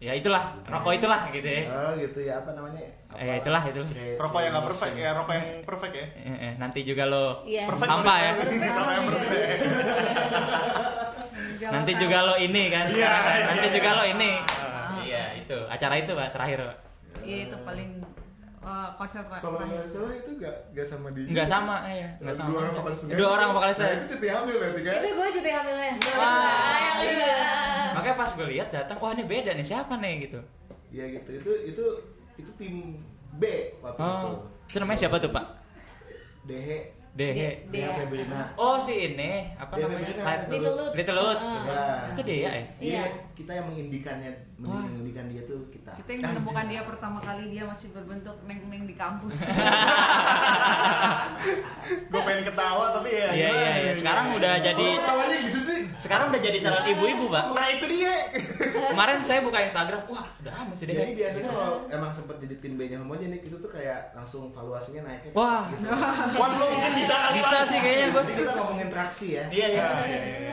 Speaker 2: Ya itulah, rokok itulah gitu
Speaker 1: Eh.
Speaker 2: ya.
Speaker 5: Oh gitu ya apa namanya?
Speaker 2: Eh, itulah, itulah.
Speaker 1: Rokok yang gak perfect ya, rokok yang perfect ya.
Speaker 2: Eh, eh, nanti juga lo
Speaker 4: Iya.
Speaker 1: Perfect.
Speaker 2: hampa ya.
Speaker 4: Perfect.
Speaker 1: Rokok yang perfect.
Speaker 3: Ya,
Speaker 2: Nanti juga lo ini kan.
Speaker 1: Iya,
Speaker 2: sekarang kan.
Speaker 1: iya,
Speaker 2: nanti
Speaker 1: iya. Ah.
Speaker 2: juga lo ini. Iya, itu. Acara itu Pak terakhir, Pak.
Speaker 3: ya itu paling eh, konser
Speaker 5: Kalau
Speaker 3: terakhir
Speaker 5: nggak salah itu nggak nggak sama di.
Speaker 2: Enggak sama, ya. Enggak sama.
Speaker 5: Dua orang vokalisnya.
Speaker 2: Dua orang vokalisnya.
Speaker 5: Nah, itu cuti hamil berarti kan?
Speaker 4: Itu gue cuti hamilnya.
Speaker 2: Wah,
Speaker 4: Ah, yang kedua.
Speaker 2: Makanya pas gue lihat datang, wah ini beda nih, siapa nih gitu.
Speaker 5: Iya gitu. Itu itu itu tim B waktu itu.
Speaker 2: Oh, itu namanya siapa tuh Pak?
Speaker 5: Dehe.
Speaker 2: Dehe.
Speaker 4: De- Dea.
Speaker 5: Dea Febrina.
Speaker 2: Oh si ini apa
Speaker 5: Dea
Speaker 2: namanya?
Speaker 5: Febrina,
Speaker 2: Light-
Speaker 4: Little Lut.
Speaker 2: Little Lut.
Speaker 4: Heeh.
Speaker 5: Ya.
Speaker 2: Itu Dea ya?
Speaker 4: Iya.
Speaker 5: Iya, kita yang mengindikannya,
Speaker 2: Wah.
Speaker 5: mengindikan dia tuh kita.
Speaker 3: Kita yang menemukan dia pertama kali dia masih berbentuk neng-neng di
Speaker 2: <laughs>
Speaker 3: kampus.
Speaker 1: Gue pengen ketawa tapi ya.
Speaker 2: Iya iya iya. Sekarang udah jadi
Speaker 5: Kok ketawanya gitu sih?
Speaker 2: sekarang udah jadi calon ibu-ibu pak.
Speaker 1: Nah itu dia.
Speaker 2: Kemarin saya buka Instagram, wah udah amat sih
Speaker 5: Jadi
Speaker 2: Dehe.
Speaker 5: biasanya kalau emang sempet jadi tim B-nya homogenik itu tuh kayak langsung valuasinya naiknya.
Speaker 2: Wah.
Speaker 5: Gitu.
Speaker 1: Wan lo mungkin bisa kali.
Speaker 2: Bisa
Speaker 1: Wan.
Speaker 2: sih kayaknya gue.
Speaker 5: Jadi kita ngomongin traksi ya.
Speaker 2: Iya iya.
Speaker 1: Ah, iya, iya, iya.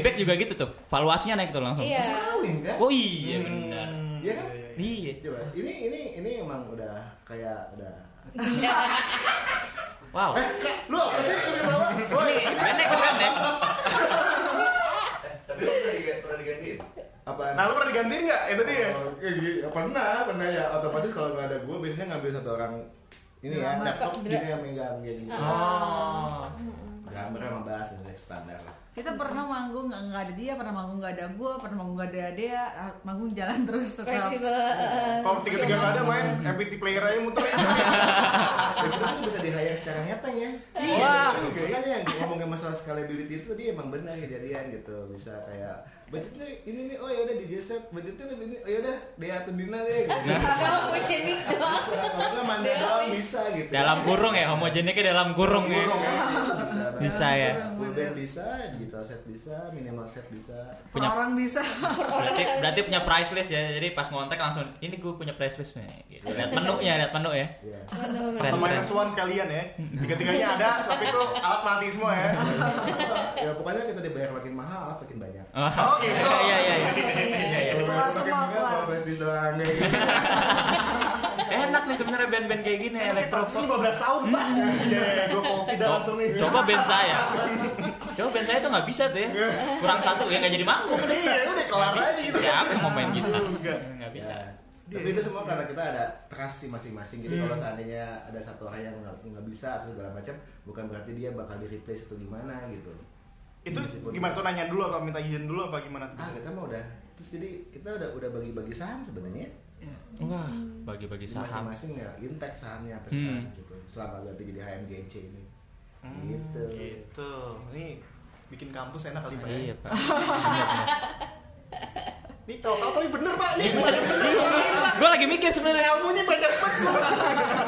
Speaker 2: Bebek juga gitu tuh. Valuasinya naik tuh langsung.
Speaker 4: Iya.
Speaker 5: Kawin kan?
Speaker 2: Oh iya
Speaker 1: Hmm,
Speaker 2: benar.
Speaker 5: Iya kan?
Speaker 1: iya, iya.
Speaker 2: Iya.
Speaker 5: Coba, ini ini ini emang udah kayak udah.
Speaker 2: Wow.
Speaker 5: Eh, Kak, lu apa sih lu ketawa? Woi,
Speaker 2: Ini pendek kan Dek?
Speaker 5: eh,
Speaker 7: Tapi lu pernah diga- pernah digantiin?
Speaker 5: apaan?
Speaker 1: Nah lu pernah digantiin nggak? Itu dia.
Speaker 5: iya. Oh, kayak gini. pernah, pernah ya. Otomatis kalau nggak ada gue, biasanya ngambil satu orang ini ya,
Speaker 3: Drama.
Speaker 5: laptop
Speaker 4: Dra-
Speaker 5: gini yang megang gini.
Speaker 2: Oh.
Speaker 5: Gambar sama bahas musik standar lah.
Speaker 3: kita pernah manggung nggak nggak ada dia, pernah manggung nggak ada gua, pernah manggung nggak ada dia, ah, manggung jalan terus tetap.
Speaker 4: fleksibel eh,
Speaker 1: Kalau tiga tiga nggak ada main MPT player aja <laughs> muter.
Speaker 5: Dan itu tuh bisa dihayar secara nyata ya.
Speaker 2: Wah.
Speaker 5: gitu. Makanya yang ngomongin masalah scalability itu dia emang benar kejadian gitu. Bisa kayak budgetnya ini nih, oh ya udah DJ set, budgetnya lebih ini, oh ya udah Dea Tendina deh. Gitu.
Speaker 4: kamu pujinik doang
Speaker 5: Bisa, maksudnya mandi doang bisa gitu.
Speaker 2: Dalam kurung ya, homogeniknya dalam kurung ya.
Speaker 5: Kurung ya. Bisa.
Speaker 2: Bisa ya.
Speaker 5: Full band bisa, digital set bisa, minimal set bisa.
Speaker 3: Per orang bisa.
Speaker 2: Berarti berarti punya price list ya. Jadi pas ngontek langsung ini gue punya price list nih. Gitu. Lihat menunya, lihat menu ya.
Speaker 5: Ya.
Speaker 2: Keren,
Speaker 1: Atau
Speaker 2: keren.
Speaker 1: minus one sekalian ya. Tiga tiganya ada tapi itu alat mati semua <laughs> ya.
Speaker 5: ya pokoknya kita dibayar makin mahal, alat makin banyak.
Speaker 2: Oh,
Speaker 1: Oh, gitu.
Speaker 2: <laughs> Iya iya iya.
Speaker 5: Kalau
Speaker 3: Keluar semua,
Speaker 5: bayar makin mahal,
Speaker 3: keluar.
Speaker 5: kalau flashdisk doang kayak gitu.
Speaker 2: iya. Enak nih sebenarnya band-band kayak gini elektro
Speaker 1: Elektro 15 tahun pak. Iya iya gue <laughs> kopi dah langsung nih.
Speaker 2: Coba band <laughs> saya. Coba band saya tuh nggak bisa tuh ya. Kurang satu ya nggak jadi manggung.
Speaker 1: Iya udah kelar aja gitu.
Speaker 2: Siapa yang mau main gitu?
Speaker 1: Enggak.
Speaker 2: Nggak bisa.
Speaker 5: Ya. Tapi itu semua karena kita ada trust sih masing-masing. Jadi
Speaker 2: Hmm.
Speaker 5: kalau seandainya ada satu orang yang nggak nggak bisa atau segala macam, bukan berarti dia bakal di replace atau gimana gitu.
Speaker 1: Itu gimana tuh nanya dulu atau minta izin dulu apa gimana?
Speaker 5: Ah kita mah udah terus jadi kita udah udah bagi-bagi saham sebenarnya.
Speaker 2: Wah, bagi-bagi
Speaker 5: Jadi
Speaker 2: saham.
Speaker 5: Masing-masing ya intek sahamnya apa
Speaker 2: Hmm.
Speaker 5: sekarang gitu. Selama ganti jadi HMGC ini. gitu.
Speaker 1: Hmm, Gitu. Nih bikin kampus enak kali pak.
Speaker 2: Iya,
Speaker 1: ya.
Speaker 2: Pak.
Speaker 1: Nih tahu-tahu tapi bener pak. Nih banyak bener.
Speaker 2: Gue lagi mikir sebenarnya.
Speaker 1: Ilmunya banyak banget.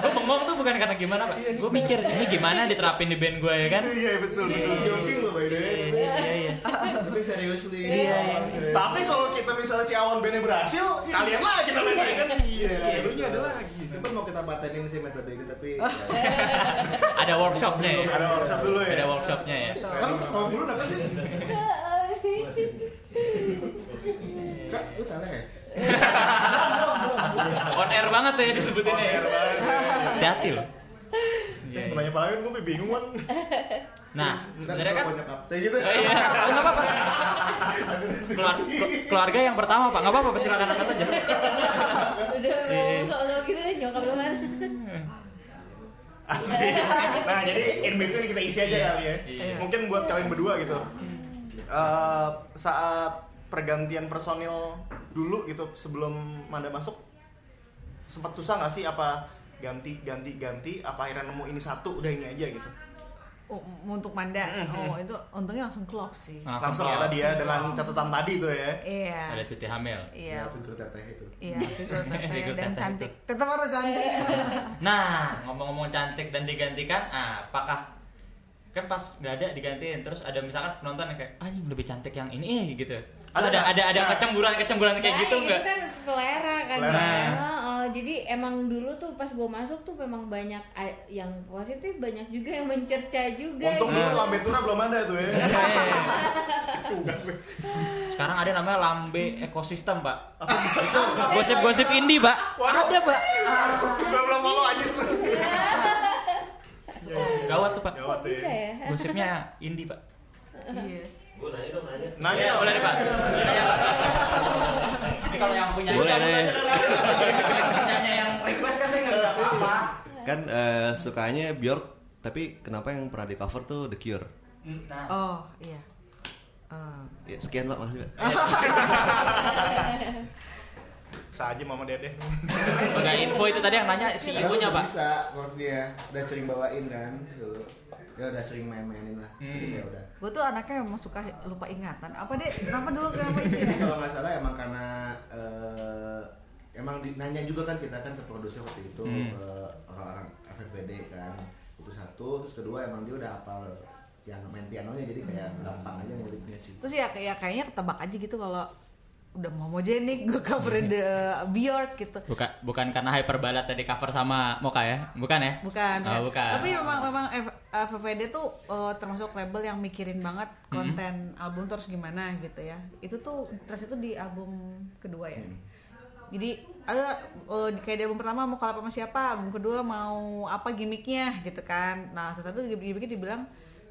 Speaker 2: Gue bengong tuh bukan karena Iya, gimana, Pak. Gue mikir ini gimana diterapin di band gue ya kan?
Speaker 1: Iya iya, betul
Speaker 5: Ini
Speaker 1: betul.
Speaker 5: joking loh by the way.
Speaker 2: Iya, iya, iya.
Speaker 5: Tapi seriously.
Speaker 2: Iya, iya.
Speaker 5: serius.
Speaker 1: Tapi kalau kita misalnya si awan bandnya berhasil, kalian lagi namanya saya kan iya. Elunya ada lagi.
Speaker 5: Cuman mau kita patenin sih metode ini
Speaker 1: <laughs>
Speaker 5: tapi ya.
Speaker 2: Ada workshopnya ya.
Speaker 1: Ada workshop dulu ya.
Speaker 2: Ada workshopnya ya.
Speaker 5: kamu ketawa dulu apa sih? Kak, lu tahu ya?
Speaker 2: On air banget ya disebutinnya. ya. Hati-hati loh. Iya,
Speaker 1: Eh,
Speaker 2: iya.
Speaker 1: Nanya paling gue bingung
Speaker 4: <laughs>
Speaker 1: kan.
Speaker 2: Nah, sebenarnya kan
Speaker 5: punya kapten gitu.
Speaker 2: Oh, iya. Oh, nggak apa-apa. Keluar- keluarga yang pertama, Pak. Enggak apa-apa, silakan angkat aja.
Speaker 4: udah ngomong soal gitu kan nyokap lu kan
Speaker 1: <laughs> Asik. Nah, jadi in between kita isi aja kali ya.
Speaker 2: Iya.
Speaker 1: Mungkin buat kalian berdua gitu. Eh, saat pergantian personil dulu gitu sebelum Manda masuk sempat susah nggak sih apa ganti ganti ganti apa akhirnya nemu ini satu udah ini aja gitu
Speaker 3: Oh, untuk Manda,
Speaker 2: Mm-hmm.
Speaker 3: oh itu untungnya langsung klop sih.
Speaker 1: langsung ya
Speaker 2: keluar.
Speaker 1: tadi ya dengan catatan tadi tuh ya
Speaker 2: Ah. Ada
Speaker 3: Iya.
Speaker 2: cuti hamil.
Speaker 3: Iya.
Speaker 5: figur teteh itu.
Speaker 3: Iya,
Speaker 2: <laughs>
Speaker 3: figur teteh
Speaker 2: Figur
Speaker 3: dan
Speaker 2: teteh
Speaker 3: cantik. Tetap harus cantik.
Speaker 2: <laughs> Nah, ngomong-ngomong cantik dan digantikan, ah, apakah kan pas nggak ada digantiin terus ada misalkan penonton yang kayak anjing lebih cantik yang ini gitu
Speaker 1: Ada
Speaker 2: ada ada
Speaker 1: nggak?
Speaker 2: ada,
Speaker 1: Nah.
Speaker 2: kecemburuan kecemburuan kayak
Speaker 4: Nah,
Speaker 2: gitu
Speaker 4: itu
Speaker 2: nggak
Speaker 4: kan selera kan
Speaker 1: Selera.
Speaker 4: Bang. Heeh, jadi emang dulu tuh pas gue masuk tuh memang banyak a- yang positif banyak juga yang mencerca juga
Speaker 1: untung dulu
Speaker 2: Iya.
Speaker 4: gitu.
Speaker 1: lambe tuna belum ada tuh ya
Speaker 2: sekarang ada namanya lambe ekosistem pak itu gosip-gosip indie pak
Speaker 1: Waduh.
Speaker 2: ada pak
Speaker 1: Gua <laughs> belum follow Iya, Ajis. <laughs>
Speaker 2: gawat tuh pak
Speaker 1: Gawat
Speaker 4: Iya. kok
Speaker 1: tuh
Speaker 4: bisa
Speaker 1: ya.
Speaker 4: ya
Speaker 2: gosipnya indie pak
Speaker 3: Iya.
Speaker 7: Gua nanya dong, nanya.
Speaker 1: Nah,
Speaker 2: ya boleh nih pak Iya, Pak. ini kalau yang punya
Speaker 7: Boleh deh.
Speaker 2: Yang punyanya yang request kan saya nggak bisa apa
Speaker 7: Kan eh, sukanya Bjork, tapi kenapa yang pernah di cover tuh The Cure?
Speaker 2: nah
Speaker 3: Oh, iya. Eh,
Speaker 7: Ya, sekian Pak, makasih Pak.
Speaker 1: Saja mama
Speaker 2: <laughs>
Speaker 1: dede.
Speaker 3: iya.
Speaker 2: Enggak info itu tadi yang nanya si
Speaker 5: Karena
Speaker 2: ibunya
Speaker 5: udah
Speaker 2: pak
Speaker 5: Bisa, chordnya udah sering bawain kan dulu. ya udah sering main-mainin lah jadi
Speaker 2: Hmm.
Speaker 5: ya udah
Speaker 3: Gue tuh anaknya memang suka lupa ingatan. Apa deh? Kenapa dulu? Kenapa itu
Speaker 5: Jadi
Speaker 3: ya?
Speaker 5: kalau nggak salah emang karena eh, emang di- nanya juga kan kita kan ke produser waktu itu
Speaker 2: Hmm.
Speaker 5: ke orang-orang FFBD kan itu satu terus kedua emang dia udah hafal piano main pianonya jadi kayak gampang aja nguliknya sih
Speaker 3: Terus ya, ya kayaknya ketebak aja gitu kalau udah homogenik gue coverin
Speaker 2: <laughs>
Speaker 3: the Bjork gitu.
Speaker 2: Bukan bukan karena hyperbalat tadi cover sama Moka ya? Bukan ya?
Speaker 3: Bukan.
Speaker 2: Oh,
Speaker 3: ya.
Speaker 2: bukan.
Speaker 3: Tapi memang memang F- FFD tuh eh, termasuk label yang mikirin banget
Speaker 2: Mm-hmm.
Speaker 3: konten album terus gimana gitu ya. Itu tuh terus itu di album kedua
Speaker 2: Mm.
Speaker 3: ya. Jadi ada eh, di- kayak di album pertama mau kalau sama siapa, album kedua mau apa gimmicknya gitu kan. Nah salah satu gimmick- gimmicknya dibilang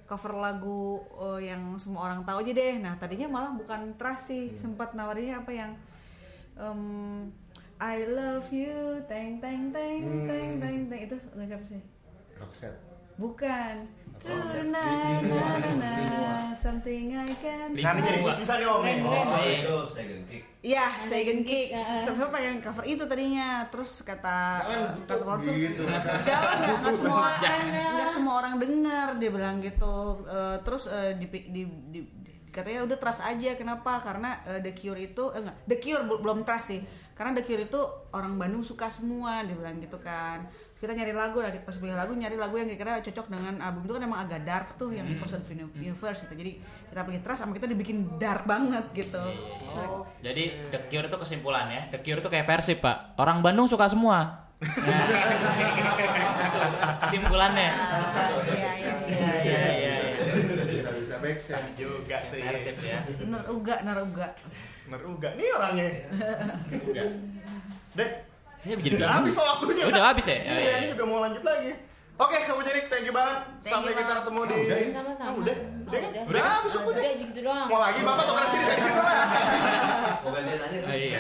Speaker 3: cover lagu eh, yang semua orang tahu aja deh. Nah tadinya malah bukan trust sih, sempat nawarinnya apa yang em, I love you, teng teng teng teng teng teng itu nggak siapa sih?
Speaker 5: Rockset
Speaker 3: Bukan.
Speaker 5: Apa?
Speaker 3: Tonight, na, na, na, something I can.
Speaker 1: Nah, ini jadi bus bisa nih om.
Speaker 4: Keren, keren.
Speaker 7: Oh, itu second kick.
Speaker 3: Ya,
Speaker 4: Ada
Speaker 3: Second
Speaker 4: yang
Speaker 3: Kick.
Speaker 4: kick, ah.
Speaker 3: Tapi saya pengen cover itu tadinya. Terus kata eh, kata Lorsu,
Speaker 5: gitu
Speaker 3: jangan nggak nggak semua
Speaker 2: Jangan.
Speaker 3: nggak semua orang dengar dia bilang gitu. Eh, terus eh, di, di, di- di- katanya udah trust aja kenapa? Karena eh, The Cure itu eh, enggak, The Cure bel- belum trust sih. Karena The Cure itu orang Bandung suka semua dia bilang gitu kan. Terus Kita nyari lagu, lah, pas punya lagu nyari lagu yang kira-kira cocok dengan album itu kan emang agak dark tuh yang di Person Universe gitu. Jadi kita pilih trust sama kita dibikin dark banget gitu.
Speaker 2: Jadi The Cure itu kesimpulannya, The Cure itu kayak Persib, Pak. Orang Bandung suka semua. <laughs> Nah, kesimpulannya.
Speaker 3: Iya, iya, iya.
Speaker 2: Iya, iya, iya.
Speaker 5: bisa bisa make sense
Speaker 1: Juga tuh ya.
Speaker 2: Persib ya.
Speaker 3: Bener uga, bener uga.
Speaker 1: Bener juga nih orangnya.
Speaker 2: Udah.
Speaker 1: Dek,
Speaker 2: Saya bikin
Speaker 1: udah habis loh waktunya.
Speaker 2: Gitu. Udah habis ya?
Speaker 1: Iya,
Speaker 2: Oh, iya.
Speaker 1: ini juga mau lanjut lagi. Oke, Kamu Jerik, thank you banget.
Speaker 3: Thank
Speaker 1: Sampai
Speaker 3: you
Speaker 1: kita
Speaker 3: banget.
Speaker 1: ketemu di
Speaker 4: Sama-sama. Oh,
Speaker 1: Ah, udah. Udah. kan?
Speaker 4: Udah.
Speaker 1: Udah habis
Speaker 4: Udah,
Speaker 1: waktunya.
Speaker 4: gitu doang.
Speaker 1: Mau lagi Bapak tuh sini saya gitu.
Speaker 7: Oh, gantian aja.
Speaker 2: Oh, iya.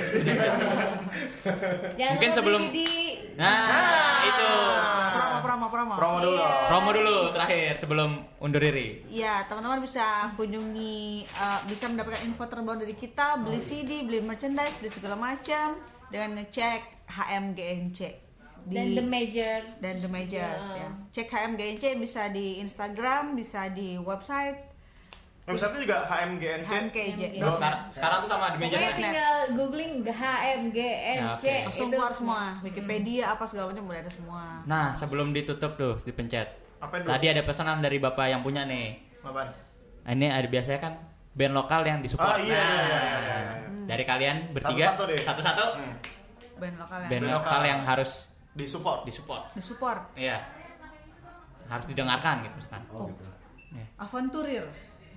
Speaker 4: Jangan
Speaker 2: Mungkin
Speaker 4: lupa
Speaker 2: sebelum-
Speaker 4: beli CD.
Speaker 2: Nah, itu.
Speaker 3: Promo, promo, promo.
Speaker 1: Promo dulu.
Speaker 4: Iya.
Speaker 2: Promo dulu terakhir sebelum undur diri.
Speaker 3: Ya, teman-teman bisa kunjungi, eh, bisa mendapatkan info terbaru dari kita, beli CD, beli merchandise, beli segala macam dengan ngecek HMGNC di
Speaker 4: Dan The Major.
Speaker 3: dan The Majors
Speaker 4: Iya.
Speaker 3: ya. Cek HMGNC bisa di Instagram, bisa di website
Speaker 1: Website juga HMGNC.
Speaker 3: HMGNC.
Speaker 1: Dot-
Speaker 2: Nah, Sekarang, sekarang tuh sama di meja.
Speaker 4: Pokoknya
Speaker 3: Net.
Speaker 4: tinggal googling HMGNC
Speaker 2: Nah, oke.
Speaker 4: itu Hmm.
Speaker 3: Langsung keluar semua, Wikipedia apa segala macam udah ada semua.
Speaker 2: Nah, sebelum ditutup tuh dipencet.
Speaker 1: Apa itu?
Speaker 2: Tadi ada pesanan dari Bapak yang punya nih.
Speaker 1: Apaan?
Speaker 2: Ini ada biasanya kan band lokal yang disupport.
Speaker 1: Ah, iya,
Speaker 2: Nah,
Speaker 1: iya, iya, iya, iya.
Speaker 2: Dari kalian bertiga
Speaker 1: Satu-satu deh.
Speaker 2: satu-satu,
Speaker 1: Hmm.
Speaker 3: Band lokal ya.
Speaker 2: band
Speaker 1: Band
Speaker 3: yang
Speaker 2: lokal,
Speaker 1: lokal.
Speaker 2: yang harus
Speaker 1: Di support.
Speaker 2: disupport.
Speaker 3: disupport.
Speaker 2: Iya. Harus didengarkan gitu kan.
Speaker 5: oh gitu
Speaker 3: Aventurir,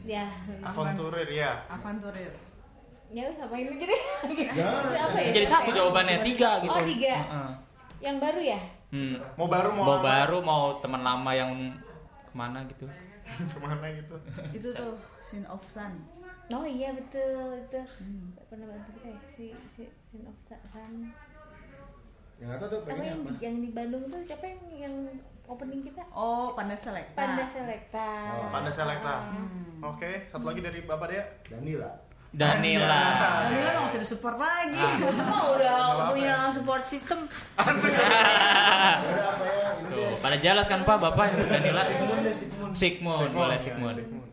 Speaker 4: ya
Speaker 1: Aventurir ya.
Speaker 3: Aventurir.
Speaker 4: ya wes apa ini jadi
Speaker 1: Nah.
Speaker 4: apa ya
Speaker 2: Jadi satu jawabannya tiga gitu.
Speaker 4: oh tiga
Speaker 2: Heeh.
Speaker 4: yang baru ya
Speaker 2: Hmm.
Speaker 1: Mau baru mau
Speaker 2: Mau
Speaker 1: lama.
Speaker 2: baru mau teman lama yang kemana gitu.
Speaker 1: <laughs> Kemana gitu.
Speaker 3: Itu tuh Sin of Sun.
Speaker 4: oh iya betul itu pernah bantu kita ya si si Sin of Sa- Sun
Speaker 5: yang nggak tahu tuh
Speaker 4: apa
Speaker 5: pengennya
Speaker 4: yang
Speaker 5: apa
Speaker 4: di, yang di Bandung tuh siapa yang yang opening kita
Speaker 3: Oh, Panda Selekta.
Speaker 4: Panda Selekta Hmm.
Speaker 5: Oh,
Speaker 1: Panda Selekta. Oke, satu lagi dari Bapak Dea.
Speaker 5: Danila
Speaker 2: Danila.
Speaker 3: Tapi kan nggak usah disupport lagi.
Speaker 4: oh udah punya support system
Speaker 1: Asik.
Speaker 2: <laughs>
Speaker 5: ada apa ya ini deh
Speaker 2: Tuh, pada jelas kan Pak Bapak yang Danila.
Speaker 5: Sigmund deh Sigmund
Speaker 2: Sigmund, boleh
Speaker 1: ya,
Speaker 2: Sigmund.
Speaker 1: Sigmund.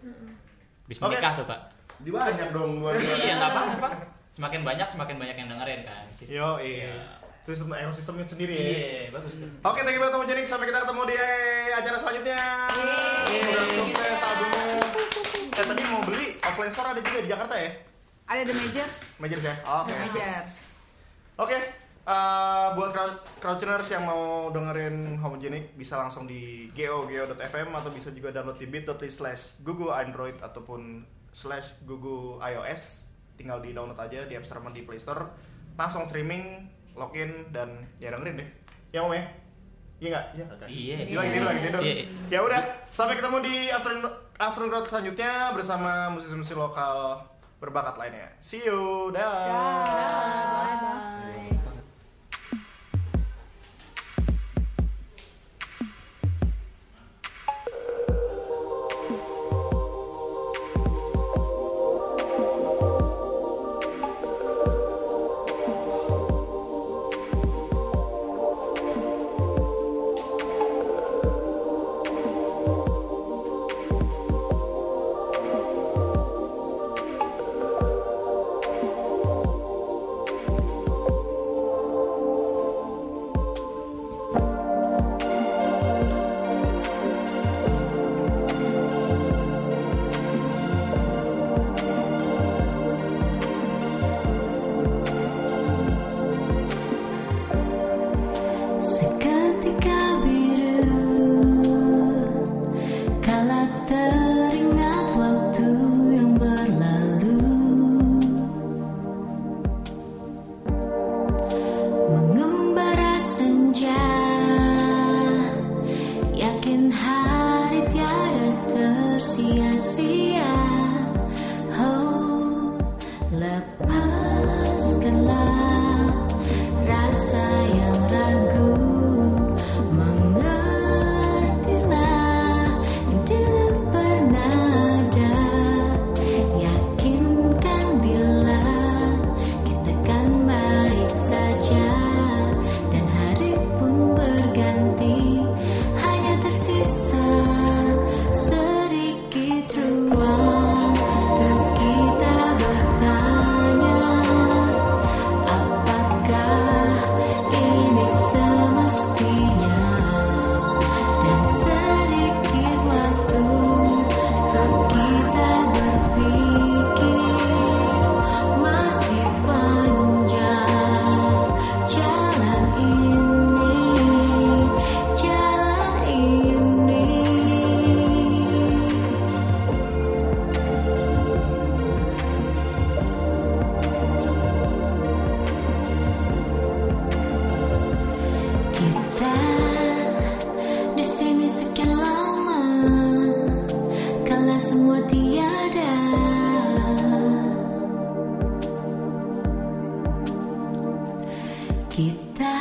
Speaker 2: Bisa
Speaker 1: Oke.
Speaker 2: menikah tuh Pak.
Speaker 5: di banyak dong gua
Speaker 2: Iya nggak apa-apa Pak. Semakin banyak semakin banyak yang dengerin kan. Sistem-
Speaker 1: Yo, iya. Terus sistem ekosistemnya sendiri ya.
Speaker 2: Iya, bagus tuh.
Speaker 1: Oke, thank you banget Om Jenik. Sampai kita ketemu di eh, acara selanjutnya. Udah sukses albumnya. Eh, tadi mau beli offline store ada juga di Jakarta ya?
Speaker 3: Ada The Majors,
Speaker 1: Majors ya? Oke.
Speaker 3: The
Speaker 1: asik.
Speaker 3: Majors.
Speaker 1: Oke, eh, buat crowd- crowdtuners yang mau dengerin Homogenic bisa langsung di geo.geo.fm atau bisa juga download di bit.ly slash Google Android ataupun slash Google iOS tinggal di download aja di App Store sama di Play Store langsung streaming login dan ya dengerin deh ya om ya iya nggak iya oke.
Speaker 2: Iya.
Speaker 1: Dia lagi tidur lagi tidur
Speaker 2: Iya.
Speaker 1: ya udah sampai ketemu di afternoon afternoon crowd selanjutnya bersama musisi-musisi lokal berbakat lainnya see you dah
Speaker 4: bye bye
Speaker 6: Thank manusia Oh lepaskanlah rasa yang ragu Mengertilah diri bernada Yakinkan bila kita kan baik saja Dan hari pun berganti Hanya tersisa sedikit ruang Untuk kita bertanya Apakah ini semestinya dan sedikit waktu untuk kita berpikir masih panjang jalan ini jalan ini. Kita di sini sekian lama, kala semua tiada. Kita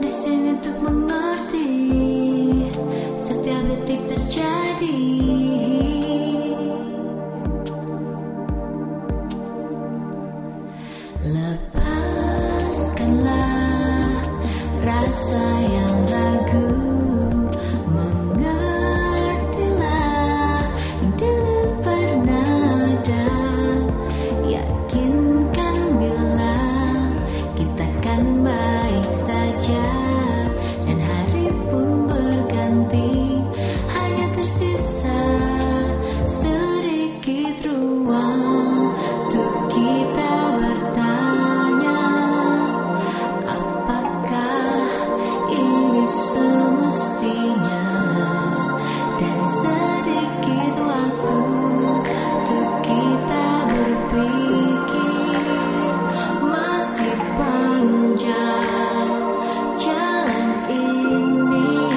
Speaker 6: di sini untuk mengerti setiap detik terjadi. Lepaskanlah rasa yang ragu Mengertilah dulu pernah ada Yakinkan bila kita kan baik saja Dan hari pun berganti Hanya tersisa sedikit ruang Untuk kita bertanya Apakah ini semestinya Dan sedikit waktu Untuk kita berpikir Masih panjang jalan ini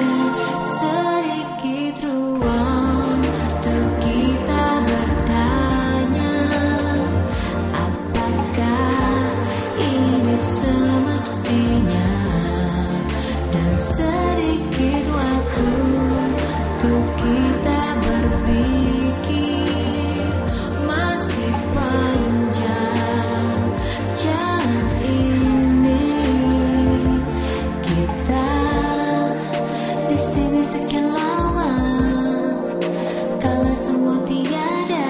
Speaker 6: Sedikit ruang Untuk kita bertanya Apakah ini semestinya dan sedikit waktu untuk kita berpikir masih panjang jalan ini kita di sini sekian lama kala semua tiada.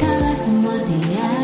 Speaker 6: Kala semua dia